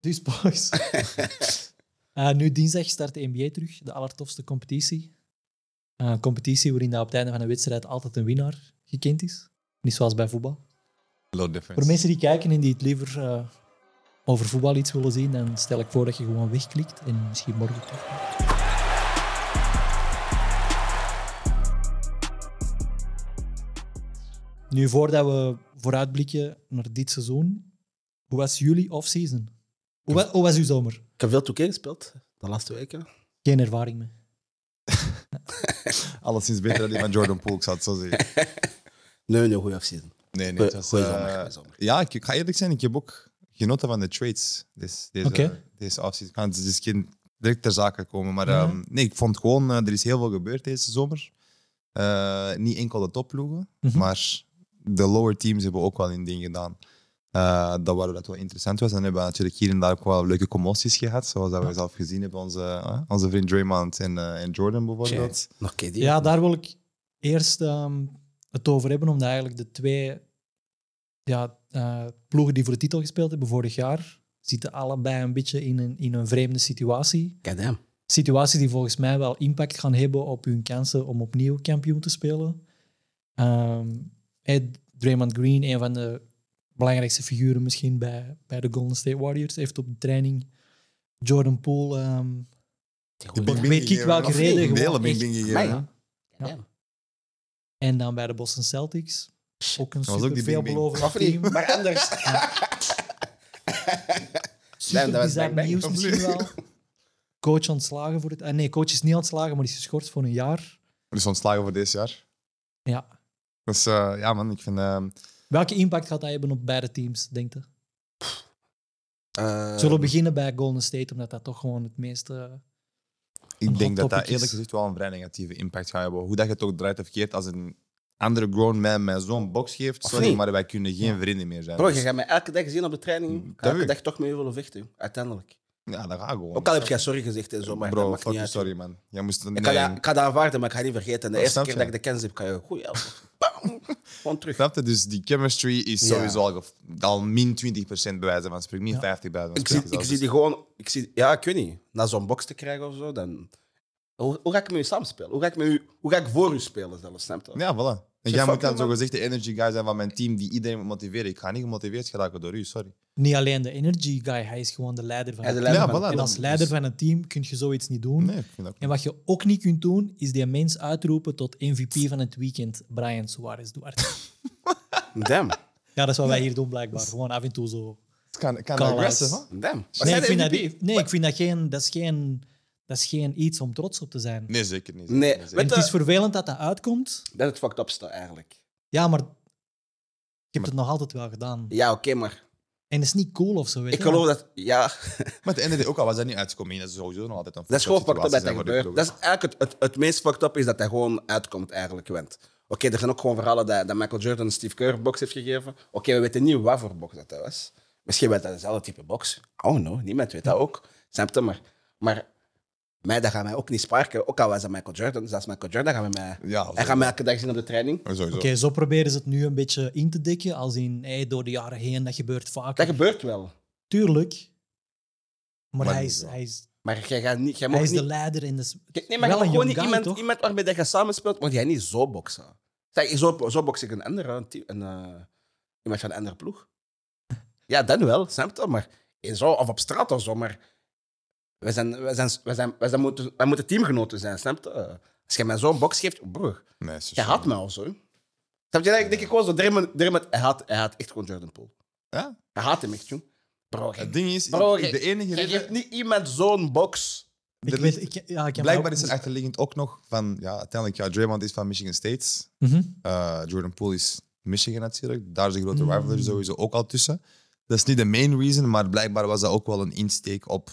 Dus boys. Eh, nu dinsdag start de NBA terug, de allertofste competitie. Eh, een competitie waarin dat op het einde van een wedstrijd altijd een winnaar gekend is. Niet zoals bij voetbal. Low difference. Voor mensen die kijken en die het liever eh, over voetbal iets willen zien, dan stel ik voor dat je gewoon wegklikt en misschien morgen terugkomt. Nu, voordat we vooruitblikken naar dit seizoen, hoe was jullie off-season? Hoe, wa- hoe was uw zomer? Ik heb veel 2K gespeeld de laatste weken. Geen ervaring mee. Alleszins beter dan die van Jordan Poole, ik zou het zo zeggen. Nee, nee, goede afseason. Nee, nee. Goeie- het was, goeie eh, zomer, goeie zomer. Ja, ik, ik ga eerlijk zijn, ik heb ook genoten van de trades dus deze, Oké. deze offseason. Ik ga het dus geen direct ter zake komen, maar Mhm. ehm, nee, ik vond gewoon, eh, er is heel veel gebeurd deze zomer. Eh, niet enkel de topploegen, Mhm. maar de lower teams hebben ook wel een ding gedaan. Eh, dat waardoor dat wel interessant was. En hebben we natuurlijk hier en daar ook wel leuke commoties gehad, zoals dat we zelf gezien hebben, onze, eh, onze vriend Draymond en, eh, en Jordan bijvoorbeeld. Nog KD. Ja, daar wil ik eerst ehm, het over hebben, omdat eigenlijk de twee ja, eh, ploegen die voor de titel gespeeld hebben vorig jaar, zitten allebei een beetje in een, in een vreemde situatie. Goddamn. Situatie die volgens mij wel impact gaan hebben op hun kansen om opnieuw kampioen te spelen. Ehm hey, Draymond Green, een van de belangrijkste figuren misschien bij, bij de Golden State Warriors, heeft op de training Jordan Poole ehm, Bing, bing, Weet ik gegeven, welke of reden, niet? gewoon De hele bing, echt. bing gegeven. Amai. ja. Goddamn. en dan bij de Boston Celtics. Ook een was ook die super bing-bing. veelbelovend Of niet, team. maar anders. Super Nee, dat was bizar bang-bang, nieuws of misschien niet? wel. Coach ontslagen voor het... eh, nee, coach is niet ontslagen, maar is geschorst voor een jaar. Dus ontslagen voor dit jaar. Ja. Dus eh, ja, man, ik vind. ehm, Welke impact gaat dat hebben op beide teams, denk je? Eh, Zullen we beginnen bij Golden State, omdat dat toch gewoon het meeste... Een ik denk hot dat dat topic is. eerlijk gezegd wel een vrij negatieve impact gaat hebben. Hoe dat je het ook draait of keert als een andere grown man mij zo'n box geeft. Of Sorry, niet? maar wij kunnen geen vrienden meer zijn. Bro, je Dus- gaat mij elke dag zien op de training. Mm, Dat weet Elke ik. Oh, dag toch met je willen vechten, joh. uiteindelijk. ja, dat gaat gewoon. Ook al heb jij sorry gezegd en zo, maar dat Bro, maakt fuck niet you, uit. sorry, man. Jij moest. Ik, Nee. kan dat, ik kan dat aanvaarden, maar ik ga niet vergeten. De Oh, eerste snap keer je? dat ik de kennis heb, kan je goeie elbow. Bam! Gewoon terug. Snap je? Dus die chemistry is Ja. sowieso al, ge- al min 20% bij wijze van spreken, min 50 bij wijze van Ik zie, spreken. ik zelfs. zie die gewoon... Ik zie, ja, ik weet niet. Na zo'n box te krijgen of zo, dan... Hoe, hoe ga ik met u samenspelen? Hoe ga ik, met u, hoe ga ik voor u spelen zelfs, snap je? dus. Ja, voilà. En jij Zeg, fuck moet dan you, man. zogezegd de energy guy zijn van mijn team die iedereen moet motiveren. Ik ga niet gemotiveerd geraken door u, sorry. Niet alleen de energy guy, hij is gewoon de leider van Hij is het de team. leider Ja, van het voilà, en team. als leider van een team kun je zoiets niet Mm. doen. Nee, ik vind dat En wat je ook niet kunt doen, is die mens uitroepen tot MVP van het weekend, Brian Suarez Duarte. Damn. ja, dat is wat wij hier doen blijkbaar. Gewoon af en toe zo. Het kan, kan Call-outs. aggressive, hè? Damn. Wat Nee, zei ik de vind, dat, MVP? nee ik vind dat geen... Dat is geen, dat is geen iets om trots op te zijn. Nee, zeker niet. Nee, zeker En weet niet. het is vervelend dat dat uitkomt. Dat het fucked up staat, eigenlijk. Ja, maar ik heb het nog altijd wel gedaan. Ja, oké, maar... En het is niet cool of zo. Weet Ik je? geloof dat... Ja, Maar het NDD ook al was dat niet uitgekomen. Dat is sowieso nog altijd een Dat is gewoon fucked fucked-up up dat dat situatie zijn gebeurt. Dat voor is eigenlijk het, het, het meest fucked up is dat hij gewoon uitkomt eigenlijk, went. Oké, er zijn ook gewoon verhalen dat, dat Michael Jordan Steve Kerr een box heeft gegeven. Oké, we weten niet wat voor box dat, dat was. Misschien werd dat dezelfde type box. Oh no, niemand weet dat ook. Snap je? Maar, maar mij, dat gaat mij ook niet sparken. Ook al was dat Michael Jordan. Zelfs Michael Jordan gaan we mij... de club. Ja, Hij gaat mij elke dag zien op de training. sowieso. Sowieso. Oké, zo proberen ze het nu een beetje in te dikken. Als in, hey, door de jaren heen, dat gebeurt vaak. Dat gebeurt wel. Tuurlijk. Maar, Maar hij, niet is, wel. hij is, Maar jij gaat niet... Jij hij mag is de niet... leider. En dat is Kijk, nee, maar je wel mag een young gewoon niet guy, iemand, toch? iemand waarmee dat je samenspeelt, moet jij niet zo boksen. Zeg, zo, zo boks ik een andere, een, team- een, eh, iemand van een andere ploeg. Ja, dan wel, snap je? Maar in zo, of op straat of zo, maar we zijn, we zijn, we zijn, we zijn moeten, wij moeten teamgenoten zijn, snap je? Als je mij zo'n box geeft, broer, Nee, is je zo. haat mij of zo. Snap je? Dan denk ik gewoon zo, Dermot, Dermot, hij, haat, hij haat echt gewoon Jordan Poole. Ja? Hij haat hem echt, jong. Bro, jij- Het ding is, Bro, de jij- enige jij reden... geeft niet iemand zo'n box. Ik er weet, ligt- ik, ja, ik heb Blijkbaar ook- is er achterliggend ook nog van... Ja, uiteindelijk, ja, Draymond is van Michigan State. Mhm. Eh, Jordan Poole is Michigan natuurlijk. Daar is een grote Mm. rivalry sowieso ook al tussen. Dat is niet de main reason, maar blijkbaar was dat ook wel een insteek op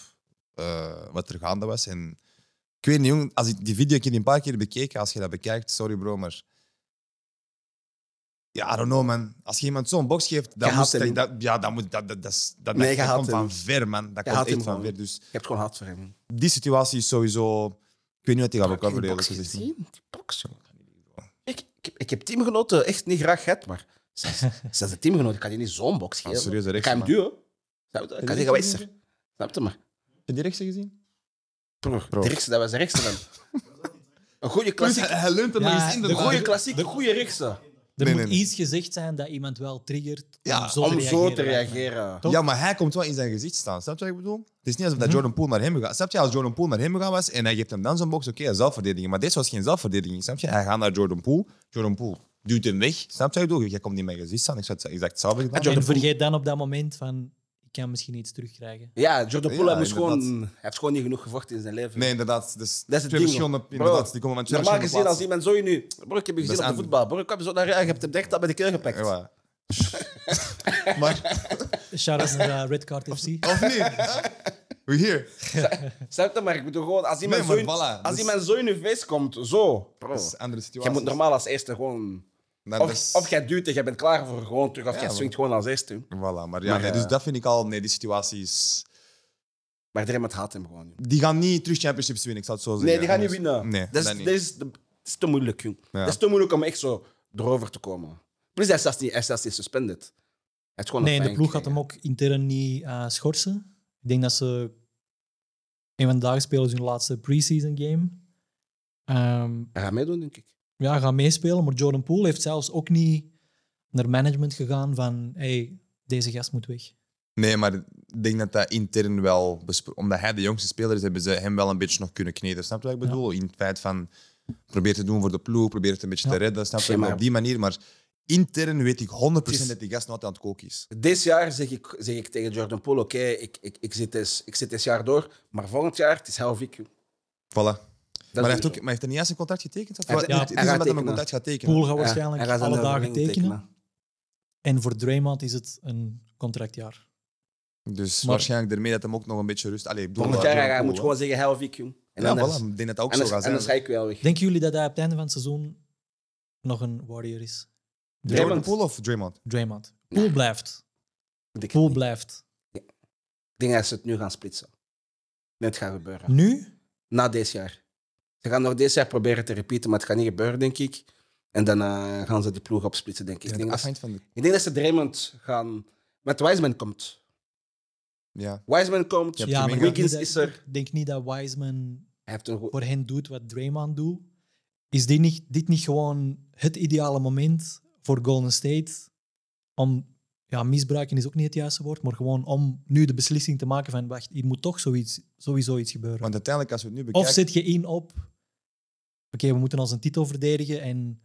eh, wat er gaande was. En ik weet niet, jong, als ik die video ik heb die een paar keer bekeken, als je dat bekijkt, sorry bro, maar... Ja, I don't know, man. Als je iemand zo'n box geeft, Je dan haat moet hem. dat, dat, ja, dan moet, dat, dat, dat, is- dat, Nee, dat- je dat haat komt hem. van ver, man. Dat Je haat komt hem echt van gewoon. ver. Dus Je hebt gewoon haat voor hem. die situatie is sowieso... Ik weet niet wat die gaat Heb je recoveren, eerlijk die box gezegd. gezien? Die box, joh. Ik, ik, heb- ik heb teamgenoten echt niet graag gehad, maar zelfs zelfs de teamgenoten kan je niet zo'n box Ah, geven. serieus, dat ik ga hem rechts, duwen. Snap je? Ik kan zeggen, wat is er? Snap je maar? Heb je die rechtse gezien? Broer, Bro. de rechtse, dat was de rechtse dan. Een goede klassieke. Hij leunt er Ja, nog eens in. de De Een goede de- klassiek, de goede rechtse. Er Nee, moet nee, nee. iets gezegd zijn dat iemand wel triggert Ja, om zo Om te zo te lijkt mij. reageren. Toch? Ja, maar hij komt wel in zijn gezicht staan. Snap je wat ik bedoel? Het is niet alsof Mhm. dat Jordan Poole naar hem gaat. Snap je, als Jordan Poole naar hem gegaan was en hij geeft hem dan zo'n box, oké, zelfverdediging. Maar dit was geen zelfverdediging, snap je? Hij gaat naar Jordan Poole. Jordan Poole duwt hem weg. Snap je wat ik bedoel? Jij komt niet in mijn gezicht staan. Ik zou het exact hetzelfde gedaan. Jordan En vergeet dan op dat moment van, ik kan misschien iets terugkrijgen. Ja, Jordan Poole Ja, moest gewoon, inderdaad. hij heeft gewoon niet genoeg gevochten in zijn leven. Nee, inderdaad. Dus Dat is het twee ding. verschillende, hoor. inderdaad, Bro, die komen van twee Normaal gezien, verschillende als iemand zo je nu... Bro, ik heb je Dat is gezien op de aan- voetbal. Bro, ik kwam zo naar je je hebt hem direct al bij de keel gepakt. plaatsen. Ja. maar, Shout-out naar eh, Red Card FC. of niet? hè? We hier. Snap je? Maar ik bedoel gewoon, als iemand, Nee, zo, in, maar voilà, als dus- iemand zo in je face komt, zo. Bro, Dat is een andere jij situatie. moet normaal als eerste gewoon... Nou, dat Of, is- of jij duwt en jij bent klaar voor gewoon terug. Of jij maar- swingt gewoon als eerste. Voilà, maar ja, Maar, nee, eh, dus dat vind ik al... Nee, die situatie is... Maar iedereen haat hem gewoon. Die gaan niet terug championships winnen, ik zou het zo zeggen. Nee, die gaan niet winnen. dus- Nee, dat dat is, niet. dat is, de- dat is te moeilijk, jong. Ja. Dat is te moeilijk om echt zo erover te komen. Plus, hij is zelfs niet, hij is zelfs niet suspended. Hij heeft gewoon Nee, een en de fijn ploeg gaat hem gekregen. ook intern niet eh, schorsen. Ik denk dat ze... Een van de dagen spelen ze hun laatste preseason game. Ehm, Hij gaat meedoen, denk ik. ja, gaan meespelen. Maar Jordan Poole heeft zelfs ook niet naar management gegaan van hey, deze gast moet weg. Nee, maar ik denk dat dat intern wel... bespro- Omdat hij de jongste speler is, hebben ze hem wel een beetje nog kunnen kneden. Snap je wat ik bedoel? In het feit van... Probeer te doen voor de ploeg, probeer het een beetje Ja. te redden. Snap je? Ja, Maar maar- op die manier, maar... Intern weet ik 100% Het is- dat die gast nog altijd aan het koken is. Dit jaar zeg ik, zeg ik tegen Jordan Poole, oké, ik, ik, ik, zit eens- ik zit dit jaar door, maar volgend jaar, het is Helvik. Voilà. Maar Dat hij, is heeft nu ook, zo. maar heeft hij niet eens een contract getekend? Of Hij- wat? ja, Het is hij gaat iemand dat een tekenen. contract gaat tekenen. Poole gaat Ja, waarschijnlijk hij gaat zijn alle dagen overwinning tekenen. En voor Draymond is het een contractjaar. Dus Maar- waarschijnlijk daarmee dat hem ook nog een beetje rust... Allee, ik bedoel, Volgend eh, jaar, hij Jordan moet Poole, gewoon zeggen Helvik. En hè. Ja, anders, voilà. Ik denk dat dat ook anders, zo gaat zijn. anders ga ik wel weg. Denken jullie dat hij op het einde van het seizoen nog een Warrior is? Jordan Draymond. Poole of Draymond? Draymond. Poole blijft. Ik denk, Poole ik blijft. denk dat ze het nu gaan splitsen. Net gaat gebeuren. Nu? Na dit jaar. Ze gaan nog dit jaar proberen te repeaten, maar het gaat niet gebeuren, denk ik. En dan eh, gaan ze die ploeg opsplitsen, denk ik. Ik Ja, denk, dat ze, afhangt van de... ik denk dat ze Draymond gaan... Met Wiseman komt. Ja. Wiseman komt. Ja, maar Jimmy ik Wiggins denk is niet dat- er. Ik denk niet dat Wiseman Hij heeft een goed... voor hen doet wat Draymond doet. Is dit niet, dit niet gewoon het ideale moment voor Golden State om... Ja, misbruiken is ook niet het juiste woord, maar gewoon om nu de beslissing te maken van wacht, hier moet toch zoiets, sowieso iets gebeuren. Want uiteindelijk, als we het nu bekijken... Of zit je in op, oké, we moeten onze titel verdedigen en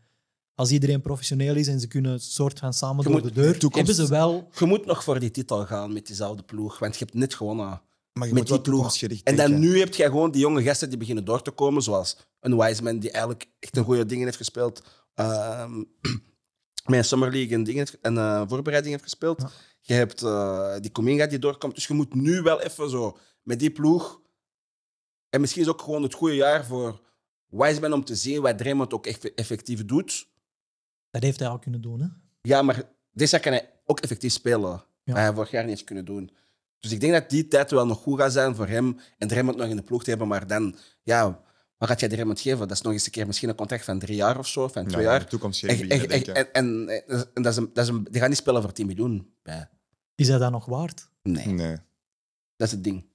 als iedereen professioneel is en ze kunnen een soort van samen Je door moet- de deur, toekomst- hebben ze wel... Je moet nog voor die titel gaan met diezelfde ploeg, want je hebt net gewonnen. Maar je moet met wel die ploeg. toekomstgericht En dan denken. nu heb je gewoon die jonge gasten die beginnen door te komen, zoals een Wiseman die eigenlijk echt een goede dingen heeft gespeeld. ehm met een Summer League en, dingen, heeft- en eh, voorbereiding heeft gespeeld. Je hebt eh, die Cominga die doorkomt. Dus je moet nu wel even zo met die ploeg. En misschien is ook gewoon het goede jaar voor Wiseman om te zien wat Draymond ook eff- effectief doet. Dat heeft hij al kunnen doen, hè? Ja, maar dit jaar kan hij ook effectief spelen. Ja. Wat hij vorig jaar niet heeft kunnen doen. Dus ik denk dat die tijd wel nog goed gaat zijn voor hem. En Draymond nog in de ploeg te hebben. Maar dan, ja, wat gaat jij Draymond geven? Dat is nog eens een keer misschien een contract van drie jaar of zo, van Ja, twee je jaar. moet toekomstgericht En, en, beginnen en, denken. en, en- en dat is een, dat is een, die gaan niet spelen voor 10 miljoen. Ja. Is hij dat nog waard? Nee, Nee, dat is het ding.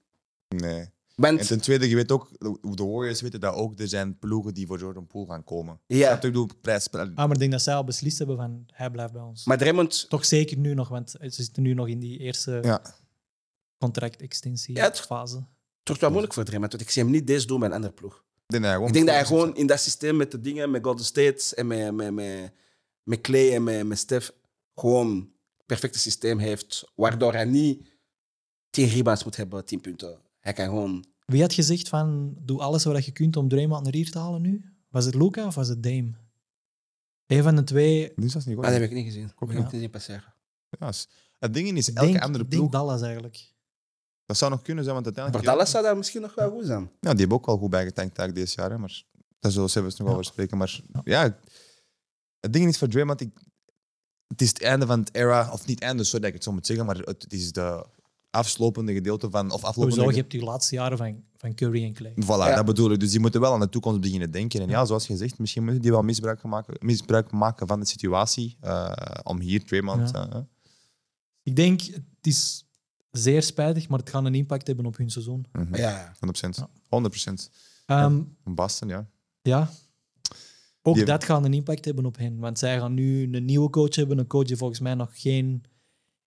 nee. En Want, ten tweede, je weet ook, de de Warriors weten dat ook, er zijn ploegen die voor Jordan Poole gaan komen. ja, Snap je? Ik bedoel, prijs... prijs- Ah, maar ik denk dat zij al beslist hebben van hij blijft bij ons. maar Draymond, Toch zeker nu nog, want ze zitten nu nog in die eerste Ja. contractextentie Ja, het- fase. het wordt wel moeilijk voor Draymond. Want ik zie hem niet deze doen met een andere ploeg. Ik denk dat hij gewoon, Ik denk dat hij gewoon in dat systeem met de dingen, met Golden States en met, met, met, met Clay en met, met Steph, gewoon het perfecte systeem heeft. Waardoor hij niet 10 rebounds moet hebben, 10 punten. Hij kan gewoon. Wie had gezegd van doe alles wat je kunt om Draymond naar hier te halen nu? Was het Luca of was het Dame? Een van de twee. Nu is dat niet goed. Ah, dat heb ik niet gezien. ook Ik heb niet. het niet passeren. Ja, is- Het ding is, Ik elke denk, andere ik denk ploeg... Dallas eigenlijk. Dat zou nog kunnen zijn, want Voor uiteindelijk... Dallas zou dat misschien nog wel goed zijn. Ja, die hebben ook wel goed bijgetankt eigenlijk deze jaar. hè, Maar daar zullen we zelfs nog wel Ja. over spreken. Maar ja, het ding is voor Draymond... Ik, het is het einde van het era... Of niet einde, sorry dat ik het zo moet zeggen. Maar het, het is de afslopende gedeelte van... Of aflopende Sowieso, je hebt die laatste jaren van, van Curry en Clay. Voilà, Ja. dat bedoel ik. Dus die moeten wel aan de toekomst beginnen denken. En ja, zoals gezegd, misschien moeten die wel misbruik gaan maken, misbruik maken van de situatie eh, om hier Draymond... Ja. eh, Ik denk, het is zeer spijtig, maar het gaat een impact hebben op hun seizoen. Mhm. Ja, 100%. Ja. 100%. Ehm, Basten, ja. ja. Ook Die- dat gaat een impact hebben op hen. Want zij gaan nu een nieuwe coach hebben. Een coach die volgens mij nog geen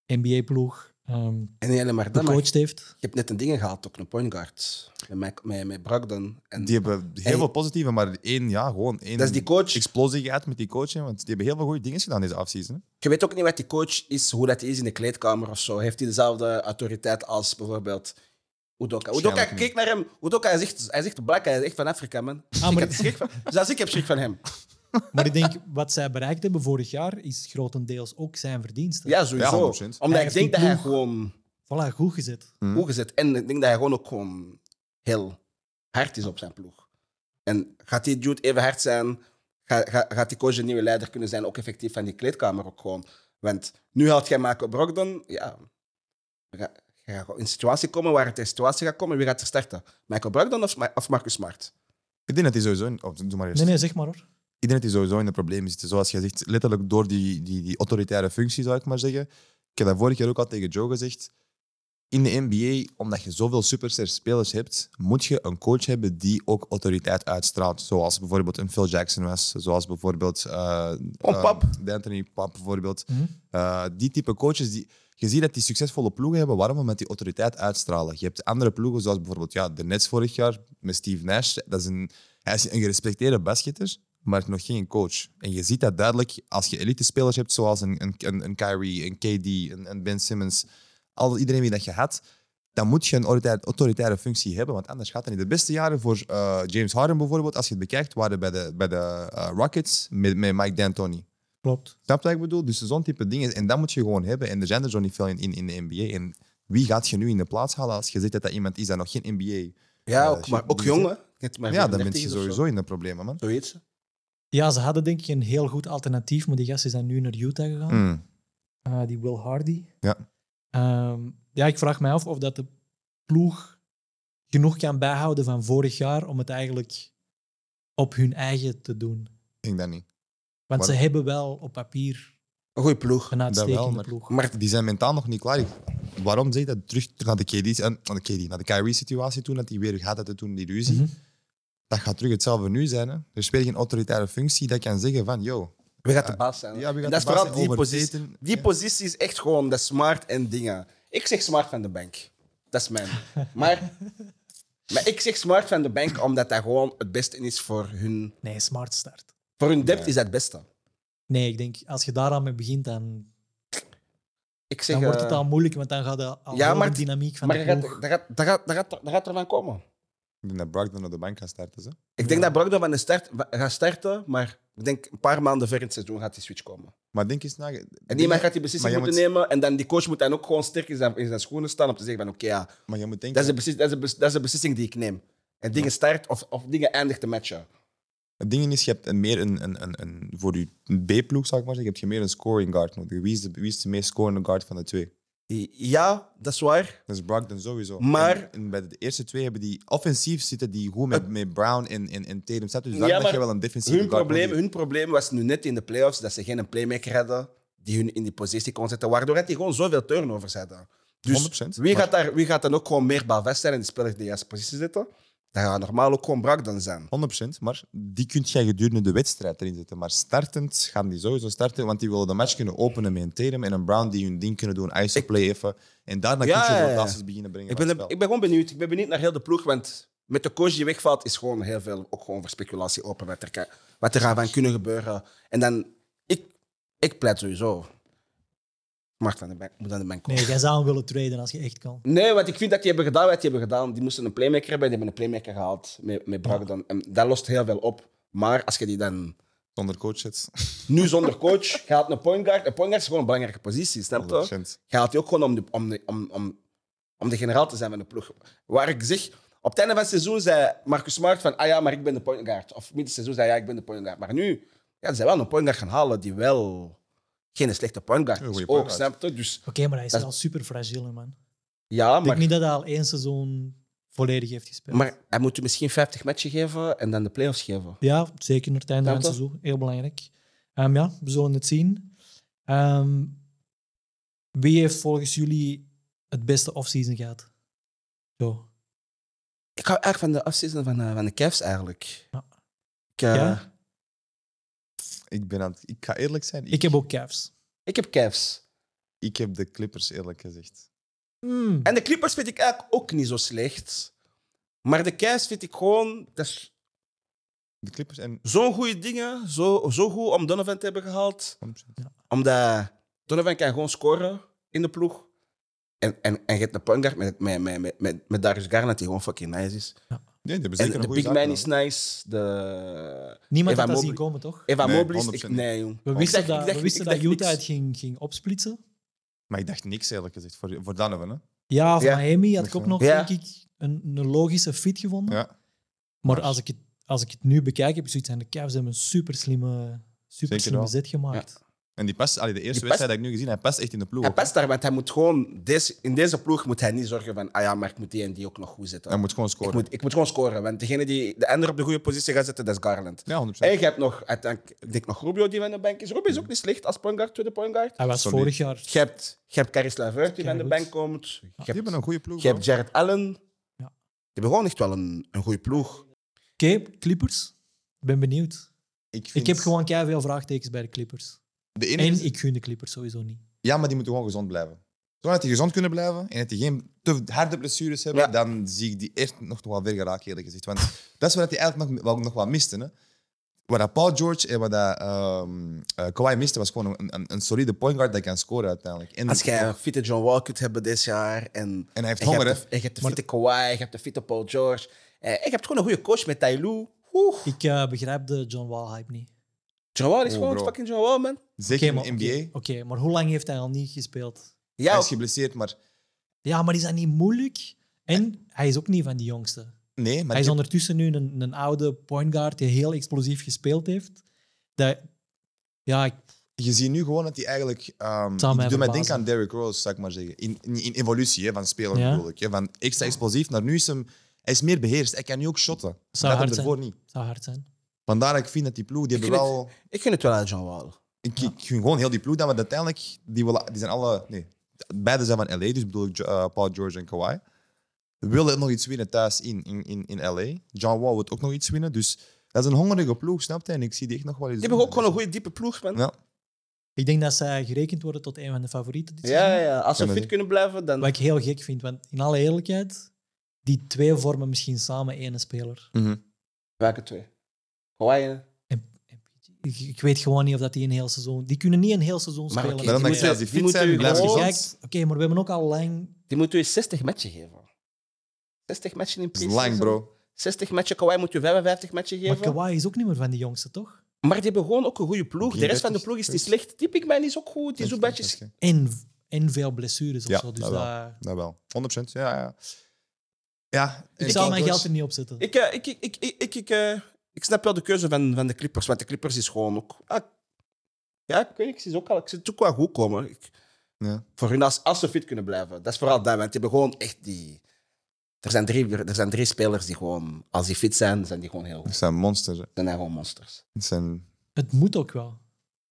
NBA-ploeg ehm en niet alleen maar dat, maar je gecoacht heeft. hebt net een ding gehaald, ook een point guard. Met, Mac- met, met Brogdon. En Die hebben heel en- veel positieve, maar één, ja, gewoon één Dat is die coach. explosie gehad met die coach. hè, Want die hebben heel veel goede dingen gedaan deze afseason. hè. Je weet ook niet wat die coach is, hoe dat is in de kleedkamer of zo. Heeft hij dezelfde autoriteit als bijvoorbeeld Udoka? Udoka, Waarschijnlijk niet. kijk naar hem. Udoka, hij zegt, hij zegt black, hij is echt van Afrika, man. Ah, Ik maar- had schrik van, zelfs ik heb schrik van hem. Maar ik denk, wat zij bereikt hebben vorig jaar, is grotendeels ook zijn verdiensten. Ja, sowieso. 100%. Omdat Hij ik heeft die denk dat hij ploeg. gewoon Voilà, goed gezet. Hm. goed gezet. En ik denk dat hij gewoon ook gewoon heel hard is op zijn ploeg. En gaat die dude even hard zijn? Ga, ga, gaat die coach een nieuwe leider kunnen zijn? Ook effectief van die kleedkamer ook gewoon. Want nu haalt jij Marco Brogdon. Ja. Je gaat- je gaat in een situatie komen waar het in een situatie gaat komen. Wie gaat er starten? Michael Brogdon of, Ma- of Marcus Smart? Ik denk dat die sowieso... in- oh, doe maar eerst. Nee, nee, zeg maar hoor. Ik denk dat die sowieso in de problemen zitten. Zoals jij zegt, letterlijk door die, die, die autoritaire functie, zou ik maar zeggen. Ik heb dat vorig jaar ook al tegen Joe gezegd. In de NBA, omdat je zoveel superster spelers hebt, moet je een coach hebben die ook autoriteit uitstraalt. Zoals bijvoorbeeld een Phil Jackson was. Zoals bijvoorbeeld... eh, Oh, eh, Pap. D'Anthony Pap, bijvoorbeeld. Mhm. Eh, die type coaches, die, je ziet dat die succesvolle ploegen hebben. Waarom? Omdat die autoriteit uitstralen. Je hebt andere ploegen, zoals bijvoorbeeld ja, de Nets vorig jaar met Steve Nash. Dat is een, hij is een gerespecteerde basketter, maar nog geen coach. En je ziet dat duidelijk als je elite spelers hebt, zoals een, een, een, een Kyrie, een KD, een, een Ben Simmons. Al, iedereen die dat je had, dan moet je een autoritaire, autoritaire functie hebben, want anders gaat het niet. De beste jaren voor eh, James Harden bijvoorbeeld, als je het bekijkt, waren bij de, bij de eh, Rockets met, met Mike D'Antoni. Klopt. Snap je wat ik bedoel? Dus zo'n type dingen. En dat moet je gewoon hebben. En er zijn er zo niet veel in, in, in de NBA. En wie gaat je nu in de plaats halen als je ziet dat dat iemand is dat nog geen NBA... Ja, Ja, ook, shit, maar ook die jongen. Net maar Ja, dan 34 ben je of zo. sowieso in de problemen, man. Zoiets. Ja, ze hadden denk ik een heel goed alternatief, maar die gasten zijn nu naar Utah gegaan. Mm. Eh, die Will Hardy. Ja. Ehm, ja, ik vraag mij af of dat de ploeg genoeg kan bijhouden van vorig jaar om het eigenlijk op hun eigen te doen. Ik denk dat niet. Want Maar- ze hebben wel op papier Een goede ploeg. een uitstekende wel, maar- Mhm. ploeg. Maar Die zijn mentaal nog niet klaar. Ik- Waarom zeg je dat? Terug naar de KD, eh, naar de, KD, naar de Kyrie-situatie toen, dat die weer gaat uit toen die ruzie. Mhm. Dat gaat terug hetzelfde nu zijn. Hè. Er is weer geen autoritaire functie dat kan zeggen van, yo, wie gaat de baas zijn? ja, we En gaan dat is de baas vooral zijn die over positie. Tatum. Die Ja. positie is echt gewoon de smart en dingen. Ik zeg smart van de bank. Dat is mijn. Maar, maar ik zeg smart van de bank omdat dat gewoon het beste is voor hun. Nee, smart start. Voor hun depth is dat het beste. Nee, ik denk als je daar aan mee begint, dan, Ik zeg, dan wordt het eh, al moeilijk, want dan gaat de, al Ja, heel maar- de dynamiek van Maar de daar ploeg- gaat, daar, gaat, daar, gaat, daar, gaat, daar gaat er van komen. Ik denk dat Brogdon op de bank gaat starten. Hè. Ik denk dat Brogdon van de start gaat starten, maar ik denk een paar maanden ver in het seizoen gaat die switch komen. Maar denk eens na... En iemand gaat die beslissing Maar jij moeten nemen en dan die coach moet dan ook gewoon sterk in zijn, in zijn schoenen staan om te zeggen van oké ja, Maar je moet denken... Dat is, de beslis- dat, is de bes- dat is de beslissing die ik neem. En dingen start of, of dingen eindigt de matchen. Het ding is, je hebt een meer een, een, een, een voor je B-ploeg, zou ik maar zeggen, heb je meer een scoring guard nodig. Wie is de, wie is de meest scorende guard van de twee? Ja, dat is waar. Dat is Brogdon sowieso. Maar- En, en bij de eerste twee hebben die offensief zitten die goed met, met Brown en, en, en Tatum staat. Dus Ja, daar maar heb je wel een defensieve Hun guard probleem, nodig. hun probleem was nu net in de playoffs dat ze geen playmaker hadden die hun in die positie kon zetten, waardoor dat die gewoon zoveel turnovers hadden. Dus 100%, wie maar- gaat, daar, wie gaat dan ook gewoon meer balvast zijn en die spelers die in de juiste positie zitten? Dat gaat normaal ook gewoon Brogdon zijn. 100%, maar die kun je gedurende de wedstrijd erin zetten. Maar startend gaan die sowieso starten, want die willen de match kunnen openen met een Tatum en een Brown die hun ding kunnen doen, iso play even. En daarna Ja, kun je ja, ja. rotaties beginnen brengen. Ik van ben, het ik ben gewoon benieuwd. Ik ben benieuwd naar heel de ploeg, want met de coach die wegvalt is gewoon heel veel ook gewoon voor speculatie open wat er, kan- wat er gaat van kunnen gebeuren. En dan, ik, ik pleit sowieso. Mark van de bank, moet aan de bank komen. Nee, jij zou hem willen traden als je echt kan. Nee, want ik vind dat die hebben gedaan wat die hebben gedaan. Die moesten een playmaker hebben en die hebben een playmaker gehaald met, met Brogdon. En dat lost heel veel op. Maar als je die dan spel. Zonder coach het. nu zonder coach gaat een point guard. Een point guard is gewoon een belangrijke positie, snap je? 100%. Je haalt die ook gewoon om de, om, de, om, om, om de generaal te zijn van de ploeg. Waar ik zeg, op het einde van het seizoen zei Marcus Smart van, ah ja, maar ik ben de point guard. Of midden seizoen zei hij, ja, ik ben de point guard. Maar nu, ja, ze zijn wel een point guard gaan halen die wel geen slechte point guard Een is. goeie point Ook, guard. snap je? Dus Oké, maar hij is Dat is- wel super fragiel, hè, man. ja, Ik denk maar, niet dat hij al één seizoen volledig heeft gespeeld. maar hij moet je misschien 50 matchen geven en dan de playoffs geven. Ja, zeker naar het einde van het Snap je? seizoen. Heel belangrijk. Ehm, ja, we zullen het zien. Ehm, wie heeft volgens jullie het beste offseason gehad. Zo. Ik hou eigenlijk van de offseason van, eh, van de Cavs eigenlijk. Ja. Ik, eh, Ja? Ik, ben aan het- ik ga eerlijk zijn, ik, Ik heb ook Cavs. ik heb Cavs. ik heb de Clippers eerlijk gezegd. Hmm. En de Clippers vind ik eigenlijk ook niet zo slecht. Maar de Cavs vind ik gewoon... Dat is De Clippers en... zo'n goede dingen. Zo, zo goed om Donovan te hebben gehaald. Omdat Donovan kan gewoon scoren in de ploeg. En, en, en je hebt een point guard met, met, met, met, met, met Darius Garland die gewoon fucking nice is. Nee, die hebben En zeker de een goede big zaak man gedaan. is nice. De... Niemand Eva had dat zien Mobley. komen, toch? Eva Nee, Mobley is... 100% Ik, niet. nee, jong. We Ik wisten dacht- ik dat, dacht- we wisten ik dat dacht Utah niks. het ging, ging opsplitsen. Maar ik dacht niks eerlijk gezegd voor, voor Donovan. Hè? Hm. Ja, of Ja. Miami had ik Ja. ook nog, Ja. denk ik, een, een logische fit gevonden. Ja, Maar als ik, het, als ik het nu bekijk, heb ik zoiets aan de Cavs hebben een super slimme, super slimme wel. zet gemaakt. en die past, allee, de eerste Die past- wedstrijd dat ik nu gezien heb, hij past echt in de ploeg. Hij ook, hè. past daar, want hij moet gewoon... Deze, in deze ploeg moet hij niet zorgen van... Ah ja, maar ik moet die en die ook nog goed zetten. Hij moet gewoon ik, scoren. moet, ik moet gewoon scoren, want degene die de ander op de goede positie gaat zetten, dat is Garland. Ja, 100%. En je hebt nog... uiteindelijk- Ik denk nog Rubio die van de bank is. Rubio is ook niet slecht als point guard, tweede point guard. Hij was Solide. vorig jaar Je hebt, je hebt Caris LeVert die Ja, van de goed. bank komt. Je Die hebt, hebben een goede ploeg. je hebt hoor. Jared Allen. Ja. Die hebben gewoon echt wel een, een goede ploeg. Oké, Clippers. Ik ben benieuwd. vind- Ik heb gewoon keihard veel vraagtekens bij de Clippers. De enige En ik gun de Clippers sowieso niet. Ja, maar die moeten gewoon gezond blijven. Zodat die gezond kunnen blijven en dat die geen te harde blessures hebben, Ja. dan zie ik die echt nog wel weer geraakt, eerlijk gezegd. Want dat is wat die eigenlijk nog, wel, nog wel miste. Hè. Wat dat Paul George en wat dat, ehm, eh, Kawhi miste, was gewoon een, een, een solide point guard dat kan scoren uiteindelijk. En, Als jij een fitte John Wall kunt hebben dit jaar en... en hij heeft En je honger, hebt hè. de- en je hebt de fitte Kawhi, je hebt de fitte Paul George. Eh, en je hebt gewoon een goede coach met Tyloo. Oeh. Ik eh, begrijp de John Wall hype niet. John Wall is Oh, gewoon bro. fucking John Wall, man. Zeker maar, in de NBA. oké, oké, maar hoe lang heeft hij al niet gespeeld? Hij Ja, is geblesseerd, maar Ja, maar is dat niet moeilijk? En hij is ook niet van die jongste. nee. Maar Hij is die- ondertussen nu een, een oude point guard die heel explosief gespeeld heeft. Dat, ja, ik- je ziet nu gewoon dat hij eigenlijk... ehm zou mij ik doe mij verbazen. denken aan Derrick Rose, zou ik maar zeggen. In, in, in evolutie hè, van speler Ja. bedoel ik. Hè. Van extra explosief naar nu is hem... Hij is meer beheerst. Hij kan nu ook shotten. Zou dat had hard hem zijn. ervoor niet. het zou hard zijn. Vandaar dat ik vind dat die ploeg, die Ik hebben vind wel... ik vind het wel aan John Wall. Ik, ik gun gewoon heel die ploeg dan, want uiteindelijk, die, willen, die zijn alle... Nee, beide zijn van LA, dus bedoel ik Jo- eh, Paul George en Kawhi. We willen nog iets winnen thuis in, in, in, in LA. John Wall wil ook nog iets winnen, dus dat is een hongerige ploeg, snap je? En ik zie die echt nog wel eens... Die hebben ook gewoon een goede diepe ploeg, man. Ja. Ik denk dat zij gerekend worden tot een van de favorieten. dit Ja, seizoen. ja. Als ze Ja, maar die- fit kunnen blijven, dan... Wat ik heel gek vind, want in alle eerlijkheid, die twee vormen misschien samen één speler. Mhm. Welke twee? Hawaii. hè? Ik, ik weet gewoon niet of dat die een heel seizoen... Die kunnen niet een heel seizoen Maar spelen. oké, Maar dan die denk ik, moeten- als die die fit zijn, moeten blijven Als je gewoon- gezond. kijkt, oké, maar we hebben ook al lang... Die moeten je 60 matchen geven. 60 matchen in Dat is pre lang, bro. 60 matchen. Kawhi moet je 55 matchen Maar geven. Maar, Kawhi is ook niet meer van die jongste, toch? die hebben gewoon ook een goede ploeg. De rest van de 33, ploeg is niet 30. slecht. Die big man is ook goed. Die zo'n is En, en veel blessures of Ja, zo. Dus dat wel. dat- Dat wel. 100%, ja, ja. Ja. en ik zou mijn geld er Paul George- niet op zetten. Ik, eh, ik, ik, ik, ik, ik, ik, eh, ik snap wel de keuze van, van de Clippers, want de Clippers is gewoon ook... ah, ja, ik weet niet, ik zie ze ook al... Ik zie het ook wel goed komen. Ik- Ja. Voor hun, als, als ze fit kunnen blijven. Dat is vooral dat, want die hebben gewoon echt die... Er zijn drie, er zijn drie spelers die gewoon... Als die fit zijn, zijn die gewoon heel Het goed. zijn monsters, hè. Dan zijn gewoon monsters. Het zijn... Het moet ook wel.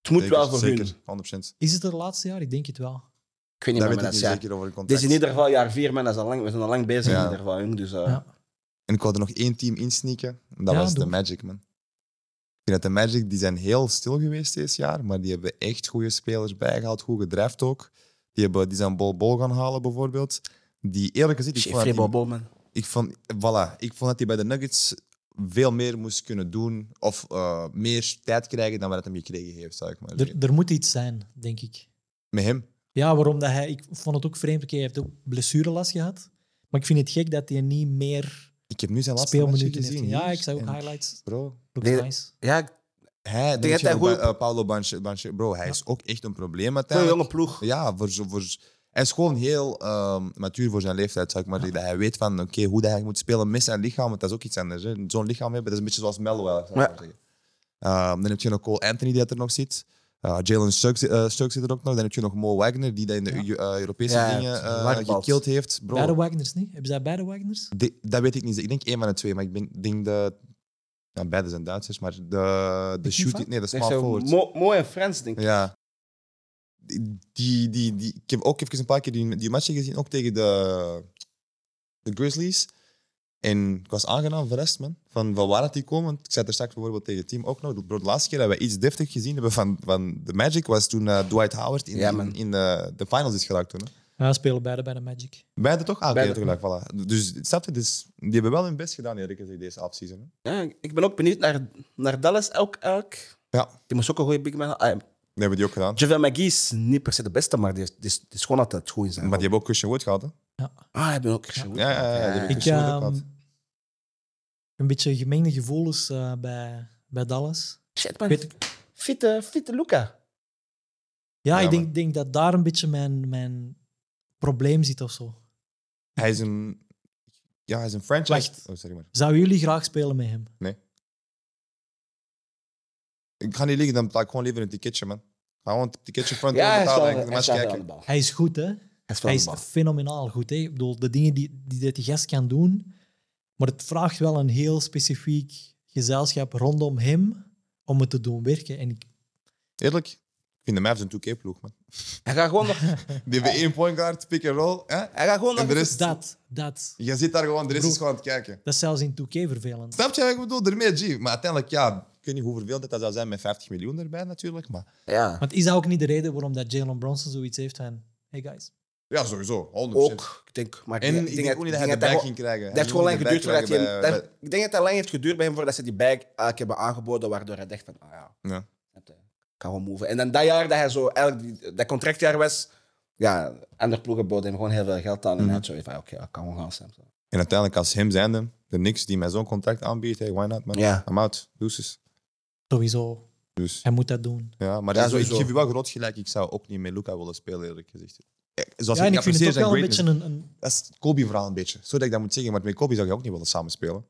Het moet zeker- wel voor hun. Zeker, Ik 100%. Is het er laatste jaar? Ik denk het wel. weet niet Daar meer, weet maar ik dat niet is ja. zeker over de Dit is context. in ieder geval jaar vier, man. Dat is al lang, we zijn al lang bezig Ja. in ieder geval. jong, Dus, eh, Ja. En ik wou er nog één team insneaken. En dat Ja, was de doe. Magic, man. Ik vind dat de Magic, die zijn heel stil geweest dit jaar, maar die hebben echt goede spelers bijgehaald, goed gedraft ook. Die, hebben, die zijn Bol Bol gaan halen, bijvoorbeeld. Die eerlijk gezegd, ik vond, Jeffrey dat die, Bobo, man. ik, vond, voilà, ik vond dat hij bij de Nuggets veel meer moest kunnen doen of eh, meer tijd krijgen dan wat hij hem gekregen heeft, zou ik maar zeggen. Er, er moet iets zijn, denk ik. Met hem. Ja, waarom dat hij... Ik vond het ook vreemd. Oké, hij heeft ook blessurelast gehad. Maar ik vind het gek dat hij niet meer Ik heb nu zijn laatste match speelminuten heeft. gezien. Ja, hier. ik zag ook En highlights. Bro, Looks Nee, nice. Ja, ik- hij, dat denk je hij ook goed- bij, eh, Paolo Banche, Banche- bro, hij is ook echt een probleem een uiteindelijk. jonge ploeg. Ja, voor, zo- voor, hij is gewoon heel ehm matuur voor zijn leeftijd, zou ik maar zeggen. Dat hij weet van, oké, hoe dat hij moet spelen met zijn lichaam, want dat is ook iets anders. hè. Zo'n lichaam hebben, dat is een beetje zoals Melo, zou ik Ja. maar zeggen. Ehm, dan heb je nog Cole Anthony, die dat er nog zit. Eh, Jalen Suggs, eh, Suggs zit er ook nog. Dan heb je nog Mo Wagner, die dat in de Ja. Eu- eh, Europese Ja, dingen het eh warmbad. gekild heeft. Bro, Beide Wagners niet? Hebben zij beide Wagners? die- dat weet ik niet. Ik denk één van de twee, maar ik ben- denk dat... Ja, beide zijn Duitsers, maar de, de niet shooting... fout? Nee, de small Echt zo forward. mo- Mooi en Frans, denk ik. Ja. die, die, die, ik heb ook even een paar keer die, die matchen gezien, ook tegen de, de Grizzlies. En ik was aangenaam verrast, man. Van, van waar dat die komen. Ik zei er straks bijvoorbeeld tegen het team ook nog. De laatste keer dat we iets deftig gezien hebben van, van de Magic was toen eh, Dwight Howard in, Ja, in, man. in, eh, de finals is geraakt toen. Hè. Ja, we spelen beide bij de Magic. Beide toch? Ah, oké, Beide. tegelijk, voilà. Dus, snap je? Dus die hebben wel hun best gedaan, eerlijk gezegd, deze offseason. hè. Ja, ik ben ook benieuwd naar, naar Dallas elk elk. Ja, dat Die moest ook een goede big man. Ah, hebben die ook gedaan. Javel McGee is niet per se de beste, maar die is, die is, die is gewoon altijd goed in zijn. Maar die hebben ook Christian Wood gehad, hè? Ah, hij ben ook Christian Wood. Ja, ja, ja, ja. Ik Christian Wood ehm, ook gehad. een beetje gemengde gevoelens eh, bij, bij Dallas. Shit, man. Ik weet- Fitte, fitte Luca. Ja, Ja, ik denk, denk dat daar een beetje mijn, mijn probleem zit of zo. Hij is een... Ja, hij is een franchise... Wacht. Oh, sorry maar. Zouden jullie graag spelen met hem? Ik ga niet liggen, dan betaal ik gewoon liever een ticketje, man. Ga gewoon een ticketje front Ja, row hij is wel betalen hij en ik de match is wel aan de kijken. bal. Hij Hij is goed, hè? is wel Hij aan de is bal. fenomenaal goed. Hè? Ik bedoel, de dingen die, die dat die gast kan doen. Maar het vraagt wel een heel specifiek gezelschap rondom hem om het te doen werken. En ik, Eerlijk, ik vind de Mavs een 2K-ploeg, man. Hij gaat gewoon nog... Die hebben één point guard, pick and roll. Hè? Hij gaat gewoon En de nog... rest... dat, dat, Je zit daar gewoon, de rest Broer. is gewoon aan het kijken. dat is zelfs in 2K vervelend. Snap je wat ik bedoel? Ermee, G. Maar uiteindelijk, ja, ik weet niet hoeveel dat dat zou zijn met 50 miljoen erbij natuurlijk, maar... Ja. Want is dat ook niet de reden waarom dat Jalen Bronson zoiets heeft van... Hey guys. Ja, sowieso, 100%. Ook, ik denk... Maar En denk- ik denk ook niet dat hij de denk bag gewoon- ging krijgen. Dat heeft gewoon lang geduurd voordat hij... hij... dat- Ik denk dat het lang heeft geduurd bij hem voordat ze die bag eigenlijk hebben aangeboden, waardoor hij dacht van, ah ja, Ja. het, eh, kan gewoon move. En dan dat jaar dat hij zo eigenlijk die- dat contractjaar was, ja, andere ploegen boden hem gewoon heel veel geld aan en Mhm. hij had zo van, oké, ik kan gewoon gaan stemmen. En uiteindelijk, als hem zijnde, er niks die mij zo'n contract aanbiedt, hey, why not, man? Ja. I'm out. Deuces. Sowieso, Dus... hij moet dat doen. Ja, maar Ja, ik- ik sowieso. geef je wel groot gelijk. Ik zou ook niet met Luca willen spelen, eerlijk gezegd. Ja, Zoals Ja, en ik vind het apprecieer ook zijn wel een greatness. beetje een, een- Dat is het Kobe-verhaal een beetje. Zo dat ik dat moet zeggen, maar met Kobe zou je ook niet willen samenspelen.